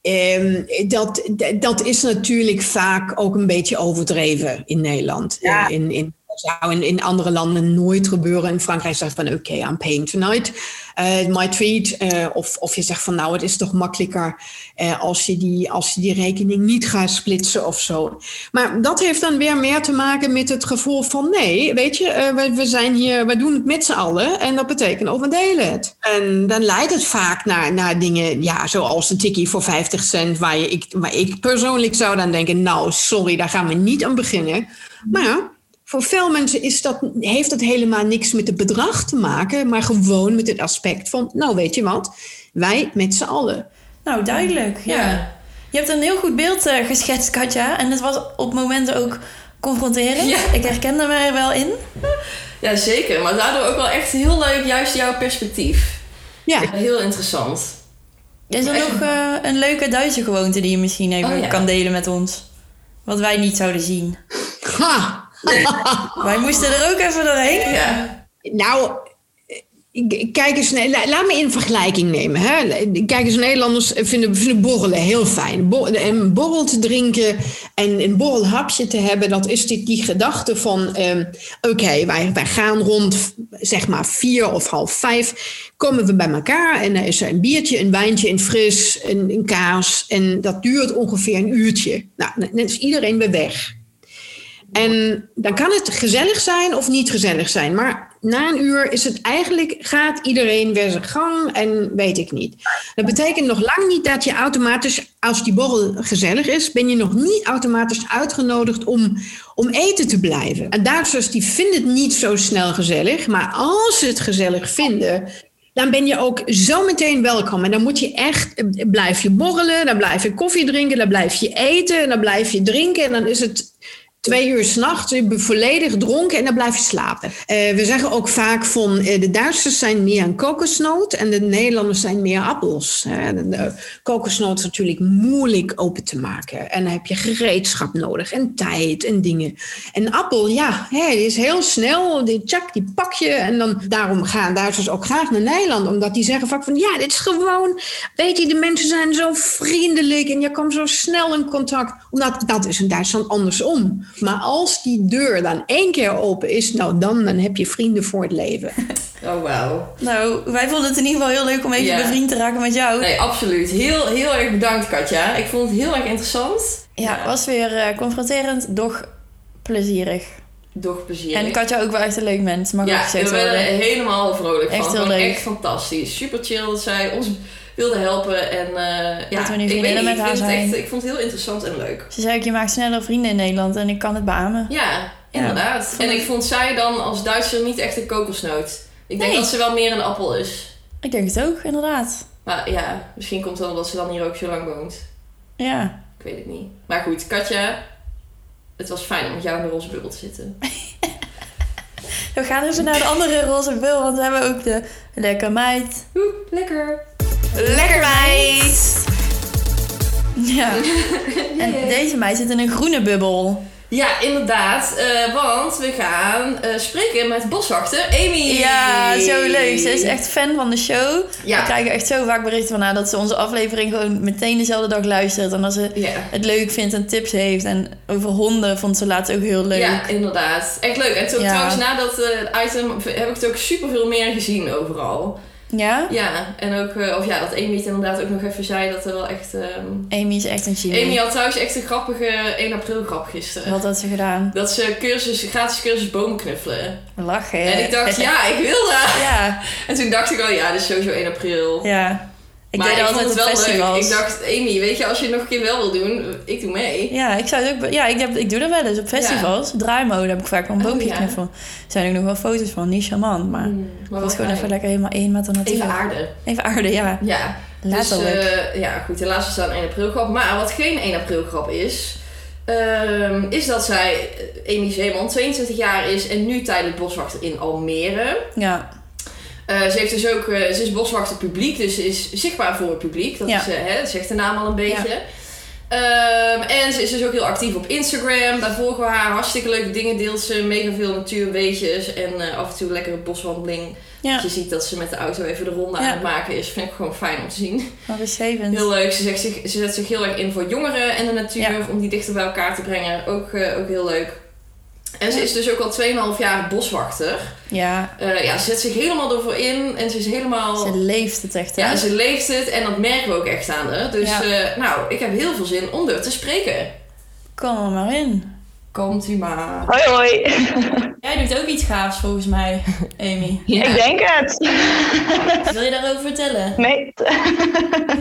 C: Ehm, dat, d- dat is natuurlijk vaak ook een beetje overdreven in Nederland.
D: Ja.
C: Eh, In, in, zou in, in andere landen nooit gebeuren. In Frankrijk zegt van oké, I'm paying tonight. eh, my treat. Eh, of, of je zegt van nou, het is toch makkelijker eh, als, je die, als je die rekening niet gaat splitsen of zo. Maar dat heeft dan weer meer te maken met het gevoel van nee, weet je, eh, we, we zijn hier, we doen het met z'n allen en dat betekent ook we delen het. En dan leidt het vaak naar, naar dingen, ja, zoals een tikkie voor 50 cent, waar, je, ik, waar ik persoonlijk zou dan denken, nou, sorry, daar gaan we niet aan beginnen. Maar voor veel mensen is dat, heeft dat helemaal niks met het bedrag te maken, maar gewoon met het aspect van, nou, weet je wat, wij met z'n allen.
A: Nou, duidelijk. Ja.
B: Ja.
A: Je hebt een heel goed beeld eh, geschetst, Katja. En het was op momenten ook confronterend.
B: Ja.
A: Ik herkende me er wel in.
B: ja, zeker. Maar daardoor ook wel echt heel leuk, juist jouw perspectief.
C: Ja.
B: Heel interessant.
A: Is er nog eh, een leuke Duitse gewoonte die je misschien even
B: Oh, ja.
A: kan delen met ons? Wat wij niet zouden zien.
C: Ha!
A: Wij moesten er ook even doorheen.
B: Oh. Ja.
C: Nou, eh, kijk eens, nee, la- laat me in vergelijking nemen. Hè. Kijk eens, Nederlanders vinden, vinden borrelen heel fijn. Bo- Een borrel te drinken en een borrelhapje te hebben, dat is die, die gedachte van: ehm, oké, wij, wij gaan rond zeg maar vier of half vijf. Komen we bij elkaar en er is er een biertje, een wijntje, een fris, een, een kaas. En dat duurt ongeveer een uurtje. Nou, dan is iedereen weer weg. En dan kan het gezellig zijn of niet gezellig zijn. Maar na een uur is het eigenlijk, gaat iedereen weer zijn gang en weet ik niet. Dat betekent nog lang niet dat je automatisch, als die borrel gezellig is, ben je nog niet automatisch uitgenodigd om, om eten te blijven. En Duitsers die vinden het niet zo snel gezellig. Maar als ze het gezellig vinden, dan ben je ook zo meteen welkom. En dan moet je echt, eh, blijf je borrelen, dan blijf je koffie drinken, dan blijf je eten, en dan blijf je drinken. En dan is het twee uur s'nachts, je bent volledig dronken en dan blijf je slapen. Eh, we zeggen ook vaak van, eh, de Duitsers zijn meer een kokosnoot en de Nederlanders zijn meer appels. Hè. De, de kokosnoot is natuurlijk moeilijk open te maken. En dan heb je gereedschap nodig en tijd en dingen. En appel, ja, hè, die is heel snel, die tjak, die pak je. En dan, daarom gaan Duitsers ook graag naar Nederland, omdat die zeggen vaak van, ja, dit is gewoon, weet je, de mensen zijn zo vriendelijk en je komt zo snel in contact. Omdat dat is in Duitsland andersom. Maar als die deur dan één keer open is, nou dan, dan heb je vrienden voor het leven.
B: Oh, wauw.
A: Nou, wij vonden het in ieder geval heel leuk om even
B: Ja.
A: bevriend te raken met jou.
B: Nee, absoluut. Heel, heel erg bedankt, Katja. Ik vond het heel erg interessant.
A: Ja, was weer eh, confronterend, doch plezierig.
B: Door plezier.
A: En Katja ook wel echt een leuk mens, mag ook
B: Ja, we
A: gezegd
B: werden
A: worden.
B: er helemaal vrolijk
A: Echt
B: van.
A: heel
B: Gewoon
A: leuk.
B: Echt fantastisch. Super chill dat zij ons wilde helpen. En eh ja,
A: we nu
B: ik,
A: vriendinnen
B: weet niet,
A: met
B: ik,
A: haar
B: vind het
A: zijn.
B: echt, ik vond het heel interessant en leuk.
A: Ze zei ook, je maakt sneller vrienden in Nederland en ik kan het beamen.
B: Ja, inderdaad. En ik vond zij dan als Duitser niet echt een kokosnoot. Ik denk
A: Nee.
B: dat ze wel meer een appel is.
A: Ik denk het ook, inderdaad.
B: Maar ja, misschien komt het omdat ze dan hier ook zo lang woont.
A: Ja.
B: Ik weet het niet. Maar goed, Katja, het was fijn om met jou in de roze bubbel te zitten.
A: We gaan even naar de andere roze bul, want we hebben ook de lekker meid.
B: Oeh, lekker.
A: Lekker meid! Ja. En deze meid zit in een groene bubbel.
B: Ja, inderdaad. eh, want we gaan eh, spreken met boswachter Amy.
A: Ja, zo leuk. Ze is echt fan van de show.
B: Ja.
A: We krijgen echt zo vaak berichten van haar dat ze onze aflevering gewoon meteen dezelfde dag luistert. En dat ze
B: Ja.
A: het leuk vindt en tips heeft. En over honden vond ze laatst ook heel leuk.
B: Ja, inderdaad. Echt leuk. En toen,
A: Ja.
B: trouwens, na dat eh, item heb ik het ook superveel meer gezien overal.
A: Ja?
B: Ja, en ook, eh, of ja, dat Amy het inderdaad ook nog even zei, dat er wel echt... ehm,
A: Amy is echt een genie.
B: Amy had trouwens echt een grappige 1 april grap gisteren.
A: Wat had ze gedaan?
B: Dat ze cursus, gratis cursus bomen knuffelen.
A: Lachen.
B: En ik dacht, ja, ik wil dat.
A: ja,
B: En toen dacht ik al, ja, dit is sowieso 1 april.
A: ja. Ik
B: maar
A: deed
B: ik
A: altijd
B: vond
A: op
B: het wel leuk.
A: festivals.
B: Ik dacht, Amy, weet je, als je het nog een keer wel wil doen, ik doe mee.
A: Ja, ik, zou het ook, be- ja ik, heb, ik doe dat wel eens op festivals. Draaimode heb ik vaak wel een
B: Oh,
A: boompje
B: ja.
A: knuffelen. Er zijn ook nog wel foto's van, niet charmant, maar...
B: Mm, maar
A: Dat
B: wel
A: was gewoon
B: fijn.
A: even lekker helemaal één met de natuur.
B: Even aarde.
A: Even aarde, ja.
B: Ja.
A: Letterlijk.
B: Dus, eh, ja, goed, helaas is dat een 1 april grap. Maar wat geen 1 april grap is, ehm, is dat zij, eh, Amy Zeeman, 22 jaar is en nu tijdelijk boswachter in Almere.
A: ja.
B: Eh, ze, heeft dus ook, eh, ze is boswachter publiek, dus ze is zichtbaar voor het publiek. Dat
A: Ja.
B: is, eh, hè, dat zegt de naam al een beetje. Ehm, en ze is dus ook heel actief op Instagram. Daar volgen we haar. Hartstikke leuke dingen deelt ze. Mega veel natuurweetjes. En eh, af en toe lekkere boswandeling.
A: Ja,
B: Je ziet dat ze met de auto even de ronde
A: Ja.
B: aan het maken is. Vind ik gewoon fijn om te zien.
A: wat beschreven.
B: Heel leuk. Ze, zegt zich, ze zet zich heel erg in voor jongeren en de natuur.
A: Ja.
B: Om die dichter bij elkaar te brengen. Ook, eh, ook heel leuk. En ze is dus ook al 2,5 jaar boswachter.
A: Ja,
B: Eh, ja, ze zet zich helemaal ervoor in en ze is helemaal...
A: ze leeft het echt, hè?
B: Oh. ja, ze leeft het en dat merken we ook echt aan haar. Dus
A: Ja.
B: eh, nou, ik heb heel veel zin om er te spreken.
A: Kom er maar in.
B: Komt u maar.
D: Hoi hoi,
A: Jij doet ook iets gaafs volgens mij, Amy.
D: ik denk het.
A: Wil je daarover vertellen?
D: Nee.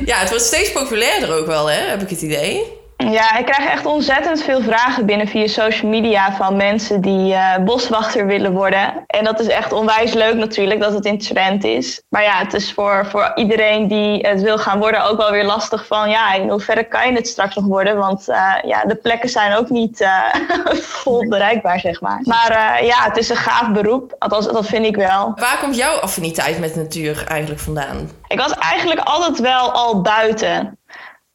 E: Ja, het wordt steeds populairder ook wel, hè? Heb ik het idee.
D: Ja, ik krijg echt ontzettend veel vragen binnen via social media van mensen die eh, boswachter willen worden. En dat is echt onwijs leuk natuurlijk dat het in trend is. Maar ja, het is voor, voor iedereen die het wil gaan worden ook wel weer lastig van ja, in hoeverre kan je het straks nog worden? Want eh, ja, de plekken zijn ook niet eh, vol bereikbaar, zeg maar. Maar eh, ja, het is een gaaf beroep. Althans, dat vind ik wel.
E: Waar komt jouw affiniteit met natuur eigenlijk vandaan?
D: Ik was eigenlijk altijd wel al buiten.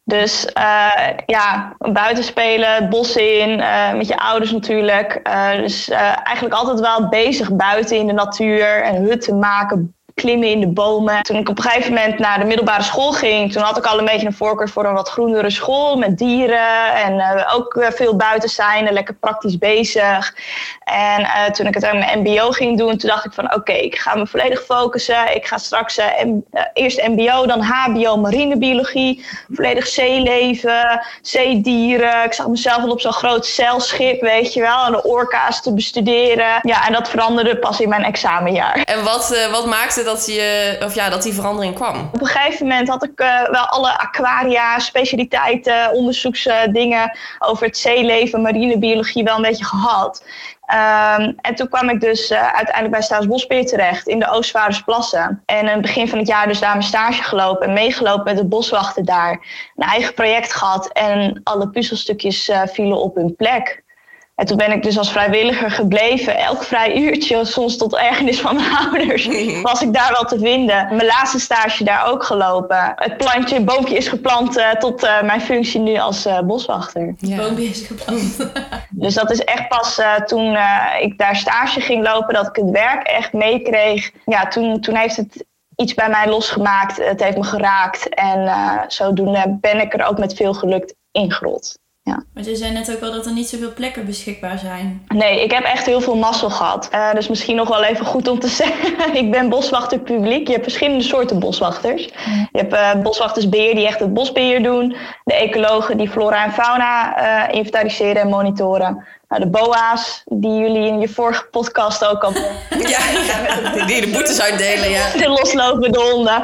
D: Dus eh, ja, buiten spelen, het bos in, eh, met je ouders natuurlijk. Eh, dus eh, eigenlijk altijd wel bezig buiten in de natuur en hutten maken, klimmen in de bomen. Toen ik op een gegeven moment naar de middelbare school ging, toen had ik al een beetje een voorkeur voor een wat groenere school met dieren en eh, ook eh, veel buiten zijn en lekker praktisch bezig. En eh, toen ik het aan mijn MBO ging doen, toen dacht ik van oké, ik ga me volledig focussen. Ik ga straks eh, M- eh, eerst MBO, dan HBO, marinebiologie, volledig zeeleven, zeedieren. Ik zag mezelf al op zo'n groot zeilschip, weet je wel, en de orka's te bestuderen. Ja, en dat veranderde pas in mijn examenjaar.
E: En wat, eh, wat maakte dat, je, of ja, dat die verandering kwam?
D: Op een gegeven moment had ik eh, wel alle aquaria, specialiteiten, onderzoeksdingen over het zeeleven, marinebiologie wel een beetje gehad. Ehm, en toen kwam ik dus eh, uiteindelijk bij Staatsbosbeheer terecht in de Oostvaardersplassen. En aan het begin van het jaar dus daar mijn stage gelopen en meegelopen met de boswachten daar. Een eigen project gehad en alle puzzelstukjes eh, vielen op hun plek. En toen ben ik dus als vrijwilliger gebleven. Elk vrij uurtje, soms tot ergernis van mijn ouders, was ik daar wel te vinden. Mijn laatste stage daar ook gelopen. Het plantje, het boompje is geplant eh, tot eh, mijn functie nu als eh, boswachter.
E: Ja.
B: Boompje is gepland.
D: Dus dat is echt pas eh, toen eh, ik daar stage ging lopen, dat ik het werk echt meekreeg. Ja, toen, toen heeft het iets bij mij losgemaakt. Het heeft me geraakt. En eh, zodoende ben ik er ook met veel geluk ingerold.
A: Want je zei net ook al dat er niet zoveel plekken beschikbaar zijn.
D: Nee, ik heb echt heel veel mazzel gehad. Eh, dus misschien nog wel even goed om te zeggen. ik ben boswachter publiek. Je hebt verschillende soorten boswachters. Je hebt eh, boswachtersbeheer die echt het bosbeheer doen. De ecologen die flora en fauna eh, inventariseren en monitoren. Nou, de BOA's die jullie in je vorige podcast ook al
E: Ja, die de boetes uitdelen, ja.
D: de loslopende honden.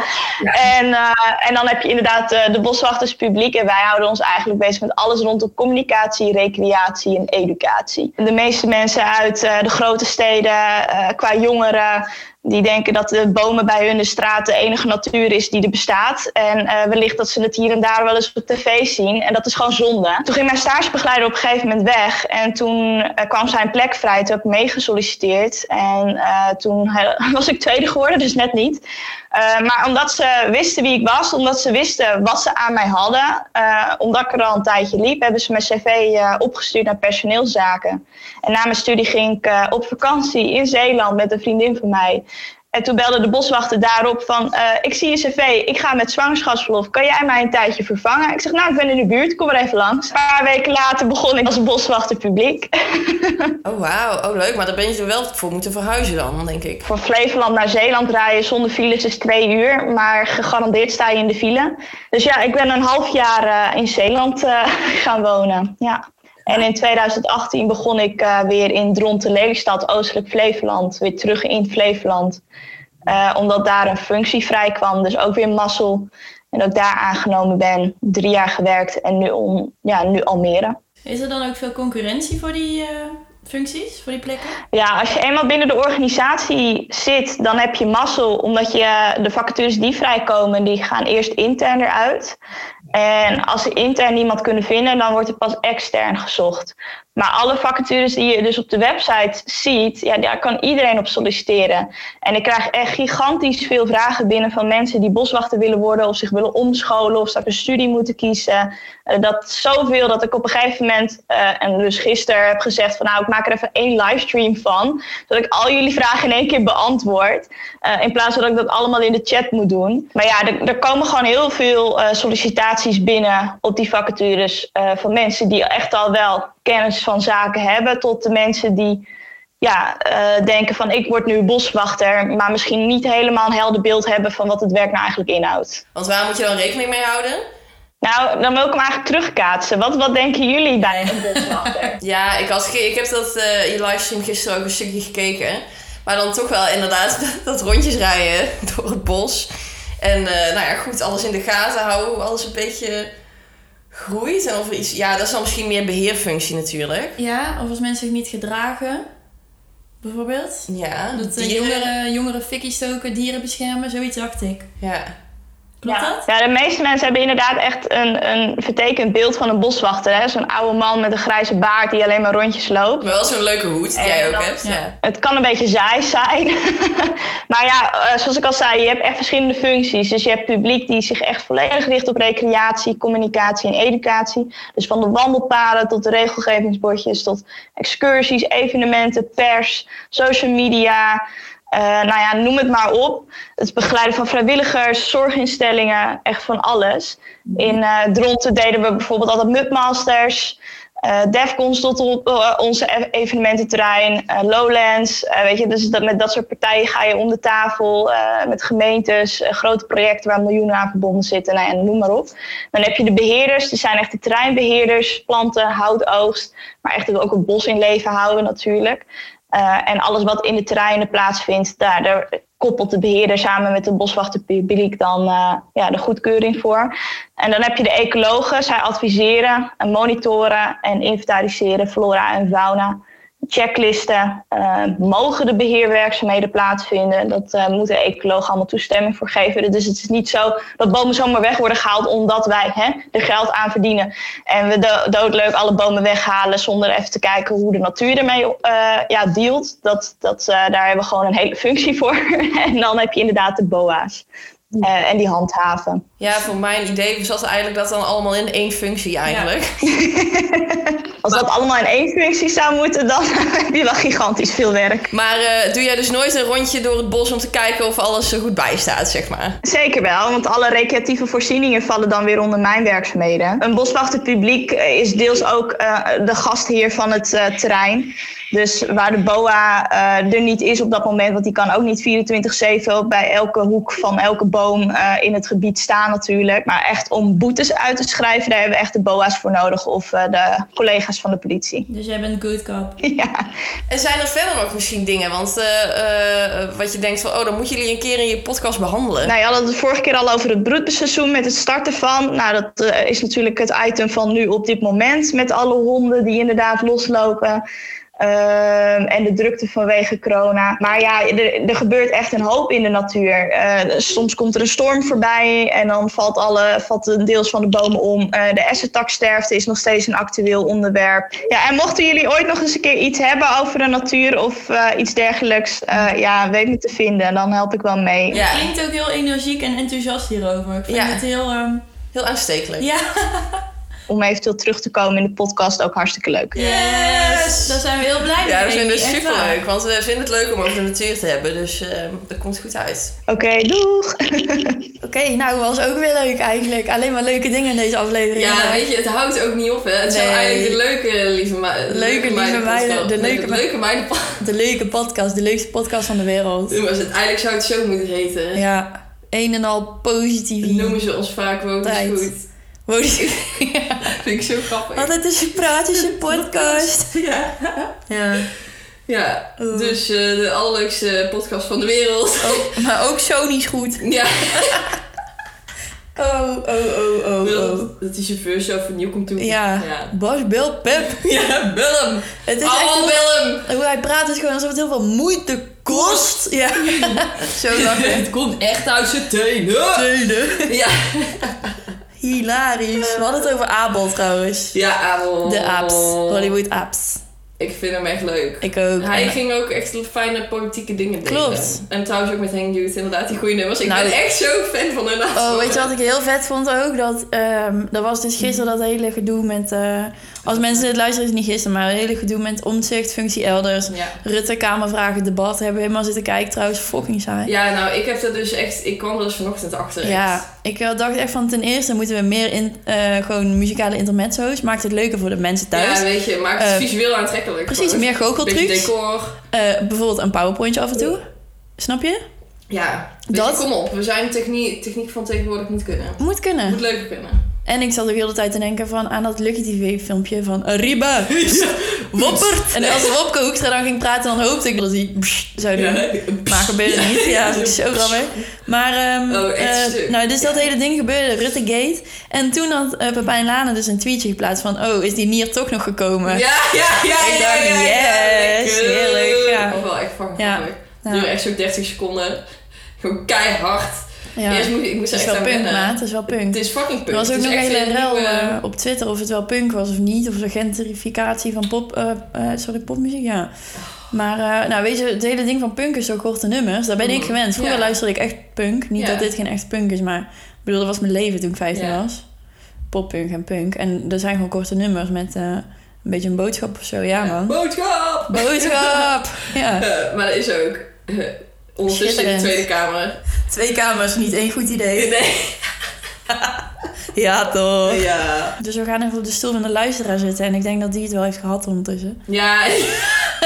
D: En, eh, en dan heb je inderdaad eh, de boswachters publiek. En wij houden ons eigenlijk bezig met alles rondom communicatie, recreatie en educatie. De meeste mensen uit eh, de grote steden, eh, qua jongeren, die denken dat de bomen bij hun de straat de enige natuur is die er bestaat. En eh, wellicht dat ze het hier en daar wel eens op tv zien. En dat is gewoon zonde. Toen ging mijn stagebegeleider op een gegeven moment weg. En toen eh, kwam zijn plek vrij. Toen heb ik meegesolliciteerd. En eh, toen he- was ik tweede geworden, dus net niet. Eh, Eh, maar omdat ze wisten wie ik was, omdat ze wisten wat ze aan mij hadden, eh, omdat ik er al een tijdje liep, hebben ze mijn cv eh, opgestuurd naar personeelszaken. En na mijn studie ging ik eh, op vakantie in Zeeland met een vriendin van mij. En toen belde de boswachter daarop van, eh, ik zie je cv, ik ga met zwangerschapsverlof, kan jij mij een tijdje vervangen? Ik zeg, nou ik ben in de buurt, kom maar even langs. Een paar weken later begon ik als boswachter publiek.
B: Oh, wauw. Oh, leuk. Maar daar ben je er wel voor moeten verhuizen dan, denk ik.
D: Van Flevoland naar Zeeland rijden zonder files is twee uur, maar gegarandeerd sta je in de file. Dus ja, ik ben een half jaar eh, in Zeeland eh, gaan wonen. Ja. En in 2018 begon ik eh, weer in Dronten Lelystad, oostelijk Flevoland, weer terug in Flevoland. Eh, omdat daar een functie vrij kwam, dus ook weer mazzel. En ook daar aangenomen ben, drie jaar gewerkt en nu, om, ja, nu Almere.
E: Is er dan ook veel concurrentie voor die eh, functies, voor die plekken?
D: Ja, als je eenmaal binnen de organisatie zit, dan heb je mazzel. Omdat je eh, de vacatures die vrijkomen, die gaan eerst intern eruit. En als ze intern niemand kunnen vinden, dan wordt er pas extern gezocht. Maar alle vacatures die je dus op de website ziet, ja, daar kan iedereen op solliciteren. En ik krijg echt gigantisch veel vragen binnen van mensen die boswachter willen worden, of zich willen omscholen, of straks een studie moeten kiezen. Eh, dat zoveel dat ik op een gegeven moment, eh, en dus gisteren heb gezegd van nou, ik maak er even één livestream van, zodat ik al jullie vragen in één keer beantwoord. eh, in plaats van dat ik dat allemaal in de chat moet doen. Maar ja, er, er komen gewoon heel veel eh, sollicitaties binnen op die vacatures eh, van mensen die echt al wel kennis van zaken hebben, tot de mensen die ja, eh, denken van ik word nu boswachter, maar misschien niet helemaal een helder beeld hebben van wat het werk nou eigenlijk inhoudt.
B: Want waar moet je dan rekening mee houden?
D: Nou, dan wil ik hem eigenlijk terugkaatsen. Wat, wat denken jullie bij een boswachter?
B: Ja, ik, had, ge- ik heb dat, eh je livestream gisteren ook een stukje gekeken. Maar dan toch wel inderdaad dat rondjes rijden door het bos. En eh, nou ja, goed, alles in de gaten houden, hoe alles een beetje groeit. En of er iets, ja, dat is dan misschien meer beheerfunctie natuurlijk.
E: Ja, of als mensen zich niet gedragen, bijvoorbeeld.
B: Ja,
E: Dat eh,
B: dieren.
E: jongeren, jongeren fikkie stoken, eh, dieren beschermen, zoiets dacht ik.
B: Ja.
E: Klopt
D: ja.
E: dat?
D: Ja, de meeste mensen hebben inderdaad echt een, een vertekend beeld van een boswachter. hè. Zo'n oude man met een grijze baard die alleen maar rondjes loopt.
B: Maar wel zo'n leuke hoed die
D: En
B: jij ook
D: dan-
B: hebt. Ja.
D: Het kan een beetje saai zijn. maar ja, eh, zoals ik al zei, je hebt echt verschillende functies. Dus je hebt publiek die zich echt volledig richt op recreatie, communicatie en educatie. Dus van de wandelpaden tot de regelgevingsbordjes, tot excursies, evenementen, pers, social media. Eh, nou ja, noem het maar op. Het begeleiden van vrijwilligers, zorginstellingen, echt van alles. In eh Dronten deden we bijvoorbeeld altijd mudmasters. eh Defcons tot op eh, onze e- evenemententerrein, eh, Lowlands. eh, weet je, dus dat, met dat soort partijen ga je om de tafel eh, met gemeentes, eh, grote projecten waar miljoenen aan verbonden zitten, nou ja, noem maar op. Dan heb je de beheerders, die zijn echt de terreinbeheerders, planten, houtoogst, maar echt ook het bos in leven houden natuurlijk. Eh, en alles wat in de terreinen plaatsvindt, daar, daar koppelt de beheerder samen met de boswachterpubliek dan eh, ja, de goedkeuring voor. En dan heb je de ecologen, zij adviseren, en monitoren en inventariseren flora en fauna. Checklisten, eh, mogen de beheerwerkzaamheden plaatsvinden? Dat eh moet de ecoloog allemaal toestemming voor geven. Dus het is niet zo dat bomen zomaar weg worden gehaald omdat wij hè, er geld aan verdienen. En we do- doodleuk alle bomen weghalen zonder even te kijken hoe de natuur ermee eh, ja, dealt. Dat, dat, eh, daar hebben we gewoon een hele functie voor. en dan heb je inderdaad de boa's eh, en die handhaven.
B: ja, voor mijn idee zat eigenlijk dat dan allemaal in één functie eigenlijk.
D: Als dat allemaal in één functie zou moeten, dan heb je wel gigantisch veel werk.
B: Maar eh, doe jij dus nooit een rondje door het bos om te kijken of alles er goed bij staat, zeg maar?
D: Zeker wel, want alle recreatieve voorzieningen vallen dan weer onder mijn werkzaamheden. Een boswachterpubliek eh, is deels ook eh, de gastheer van het eh, terrein. Dus waar de BOA eh, er niet is op dat moment, want die kan ook niet 24-7 bij elke hoek van elke boom eh, in het gebied staan natuurlijk. Maar echt om boetes uit te schrijven, daar hebben we echt de BOA's voor nodig of eh, de collega's van de politie.
E: Dus jij bent good cop.
D: ja.
B: En zijn er verder nog misschien dingen? Want eh, eh, wat je denkt van, oh, dan moeten jullie een keer in je podcast behandelen.
D: Nou, je had het de vorige keer al over het broedseizoen met het starten van. Nou, dat eh, is natuurlijk het item van nu op dit moment. Met alle honden die inderdaad loslopen. Ehm, en de drukte vanwege corona. Maar ja, er, er gebeurt echt een hoop in de natuur. Eh, soms komt er een storm voorbij en dan valt, alle, valt een deels van de bomen om. Eh, de essentaksterfte is nog steeds een actueel onderwerp. Ja, en mochten jullie ooit nog eens een keer iets hebben over de natuur of eh, iets dergelijks, eh, ja, weet me te vinden. Dan help ik wel mee.
E: Ja.
A: Klinkt ook heel energiek en enthousiast hierover. Ik vind
E: Ja.
A: het heel... ehm,
E: Heel aanstekelijk.
A: ja.
D: Om eventueel terug te komen in de podcast ook hartstikke leuk.
A: Yes! Daar zijn we heel blij mee.
E: Ja, dat vinden we
A: Echt waar.
E: superleuk, want we vinden het leuk om over de natuur te hebben, dus eh, dat komt goed uit.
D: Oké, doeg!
A: Oké, nou was ook weer leuk eigenlijk. Alleen maar leuke dingen in deze aflevering.
B: Ja, weet je, het houdt ook niet op, hè. Het zijn
A: Nee.
B: eigenlijk de leuke, lieve meiden.
A: Leuke, lieve meiden, de leuke
B: De
A: me-
B: leuke meiden.
A: De leuke podcast, de leukste podcast van de wereld.
B: Noem eens het. Eigenlijk zou het zo moeten heten.
A: Ja, een en al positief.
B: Noemen ze ons vaak wel dus
A: Tijd.
B: goed. Vind ik zo grappig.
A: Altijd een sympathische podcast.
B: Ja.
A: Ja.
B: Ja,
A: Oeh.
B: dus eh, de allerleukste podcast van de wereld.
A: Ook- Oh, maar ook Sony's goed.
B: Ja,
A: Oh, oh, oh, oh, oh.
B: dat, dat die chauffeur zo vernieuw komt toe.
A: Ja.
B: Ja,
A: Bas, Bill, Pep.
B: Ja, bel hem.
A: Het is echt
B: Oh,
A: hoe,
B: bel hem.
A: hoe hij praat is gewoon alsof het heel veel moeite kost. Ja. Zo lang.
B: Het komt echt uit zijn tenen.
A: Tenen.
B: Ja,
A: Hilarisch. We hadden het over Abel trouwens.
B: ja Abel.
A: De apps. Hollywood apps.
B: Ik vind hem echt leuk.
A: Ik ook.
B: Hij
A: En-
B: ging ook echt fijne politieke dingen delen.
A: Klopt.
B: En trouwens ook met Henk Dude, inderdaad, die goede nummers. Ik
A: Nou,
B: ben echt zo fan van hun laatste
A: Oh, weet je
B: nummer.
A: wat ik heel vet vond ook? Dat, ehm er was dus gisteren dat hele gedoe met... eh, als mensen dit luisteren, is het niet gisteren, maar het hele gedoe met omzicht, functie elders.
B: Ja.
A: Rutte, Kamervragen, debat. Hebben we helemaal zitten kijken trouwens. Fucking saai.
B: ja, nou, ik heb er dus echt... Ik kwam er dus vanochtend achter. echt.
A: Ja, ik eh, dacht echt van ten eerste moeten we meer in, eh, gewoon muzikale intermezzo's. Maakt het leuker voor de mensen thuis.
B: Ja, weet je, maakt het
A: Eh,
B: visueel aantrekkelijk.
A: Precies,
B: gewoon.
A: meer
B: Beetje
A: goocheltrucs.
B: decor.
A: Eh, bijvoorbeeld een powerpointje af en toe. Snap je?
B: Ja, weet je,
A: Dat-
B: kom op. We zijn techniek, techniek van tegenwoordig moet kunnen.
A: Moet kunnen.
B: Moet leuker kunnen.
A: En ik zat ook heel de tijd te denken van, aan dat Lucky TV filmpje van Arriba, Woppert. En als Wopke Hoekstra dan ging praten, dan hoopte ik dat hij pssst zou doen. Maar gebeurde niet. Ja, dat is zo grappig. Maar, ehm,
B: Oh, echt
A: eh,
B: stuk.
A: nou, dus dat hele ding gebeurde, Ruttegate. En toen had eh, Pepijn Lane dus een tweetje geplaatst van, oh, is die nier toch nog gekomen?
B: Ja, ja, ja.
A: Ik
B: ja,
A: dacht,
B: ja,
A: yes,
B: lekker.
A: heerlijk, ja.
B: Oh, wel echt fucking
A: Ja.
B: grappig.
A: Ja.
B: Duurde echt zo'n 30 seconden. Gewoon keihard.
A: Ja.
B: Eerst moest ik, ik eh, moest
A: Het
B: er
A: is
B: echt
A: wel
B: aan
A: punk,
B: wennen.
A: maat. Het is wel punk.
B: Het is fucking punk.
A: Er was ook
B: Het is
A: nog een
B: echt
A: hele
B: een
A: rel
B: nieuwe-
A: eh, op Twitter of het wel punk was of niet. Of de gentrificatie van pop, eh, eh, sorry, popmuziek, ja. Maar eh, nou, weet je, het hele ding van punk is zo korte nummers. Daar ben ik
B: Mhm.
A: gewend. Vroeger
B: Ja.
A: luisterde ik echt punk. Niet
B: Ja.
A: dat dit geen echt punk is, maar ik bedoel, dat was mijn leven toen ik 15
B: Ja.
A: was. Poppunk en punk. En er zijn gewoon korte nummers met eh, een beetje een boodschap of zo. Ja, man.
B: Boodschap!
A: Boodschap! ja.
B: Eh, maar dat is ook... eh, ondertussen in de
A: Schitterend.
B: Tweede Kamer.
A: Twee kamers, niet één goed idee.
B: Nee.
A: Ja, toch.
B: Oh. Ja.
A: Dus we gaan even op de stoel van de luisteraar zitten. En ik denk dat die het wel heeft gehad ondertussen.
B: Ja.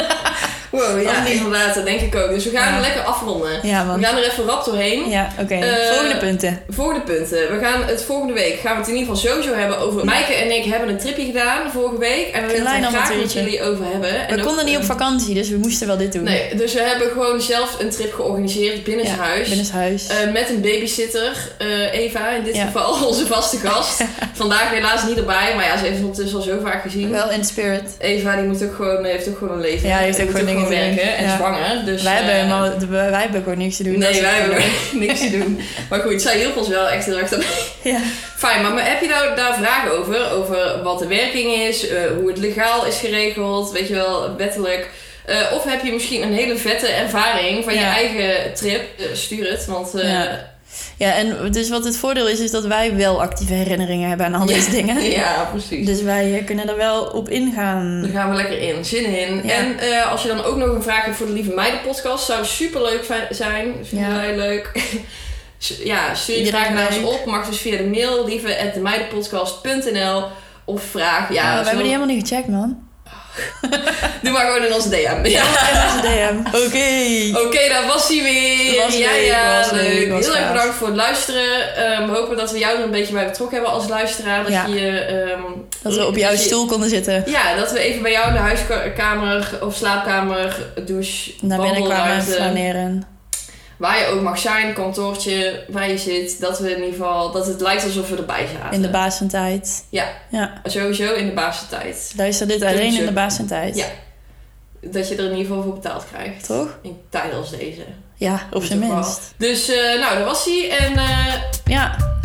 B: wow, ja.
A: Oh, nee.
B: inderdaad, dat denk ik ook. Dus we gaan
A: Ja.
B: hem lekker afronden.
A: Ja, man.
B: We gaan er even rap doorheen.
A: Ja, oké.
B: Eh,
A: Volgende punten.
B: Volgende punten. We gaan het volgende week gaan we het in ieder geval sowieso hebben over. Maaike en ik hebben een tripje gedaan vorige week. En we willen het
A: Klein
B: er graag met
A: avontuurtje.
B: jullie over hebben. En
A: We
B: ook- eh, ehm,
A: konden niet op vakantie, dus we moesten wel dit doen.
B: Nee, dus we hebben gewoon zelf een trip georganiseerd binnen
A: Ja,
B: het huis.
A: binnenshuis.
B: Eh, met een babysitter, eh, Eva, in dit
A: Ja.
B: geval onze vaste gast. Vandaag helaas niet erbij, maar ja, ze heeft het ondertussen al zo vaak gezien.
A: wel in spirit.
B: Eva die moet ook gewoon, eh, heeft ook gewoon een leven.
A: Ja, die heeft
B: En
A: ook
B: moet
A: gewoon dingen te doen.
B: werken en
A: Ja.
B: zwanger. Dus,
A: wij, hebben
B: eh,
A: helemaal, de- wij hebben gewoon niks te doen. Dat is
B: Nee, wij
A: het
B: hebben
A: probleem.
B: niks te doen. Maar goed, zij hielp ons wel echt heel erg daarbij.
A: Ja.
B: Fijn, maar heb je daar, daar vragen over? Over wat de werking is, eh, hoe het legaal is geregeld, weet je wel, wettelijk. Eh, of heb je misschien een hele vette ervaring van je
A: Ja.
B: eigen trip? Eh, stuur het, want eh,
A: Ja. ja, en dus wat het voordeel is, is dat wij wel actieve herinneringen hebben aan al deze dingen.
B: ja, precies.
A: Dus wij eh, kunnen er wel op ingaan.
B: Daar gaan we lekker in, zin in.
A: Ja.
B: En eh, als je dan ook nog een vraag hebt voor de Lieve Meiden podcast, zou super leuk zijn. Vinden
A: Ja.
B: wij leuk. ja, stuur je
A: Iedereen
B: vraag naar ons
A: leuk.
B: op. Mag dus via de mail lieve.meidenpodcast.nl of vraag. Ja,
A: Maar Oh, we
B: zo-
A: hebben die helemaal niet gecheckt, man.
B: doe maar gewoon in onze DM. Ja.
A: Onze DM. Oké.
B: Oké, daar was hij weer.
A: Was
B: ja,
A: leuk,
B: ja,
A: was leuk,
B: leuk.
A: was
B: Heel erg
A: gaaf.
B: bedankt voor het luisteren. Ehm, we hopen dat we jou er een beetje bij betrokken hebben als luisteraar. Dat,
A: Ja.
B: je, ehm,
A: Dat we op jouw
B: dat je-
A: stoel konden zitten.
B: Ja, dat we even bij jou in de huiskamer of slaapkamer, douche, eh,
A: Naar binnen kwamen en
B: wandelruimte,
A: flaneren.
B: waar je ook mag zijn, kantoortje, waar je zit, dat we in ieder geval, dat het lijkt alsof we erbij zaten.
A: In de baas van tijd.
B: Ja.
A: Ja.
B: Sowieso in de baas tijd.
A: Luister dit alleen in de baas van tijd.
B: Ja. dat je er in ieder geval voor betaald krijgt.
A: Toch?
B: In tijden als deze.
A: Ja, op zijn
B: In ieder geval.
A: minst.
B: Dus eh, nou, daar was hij. En eh,
A: Ja,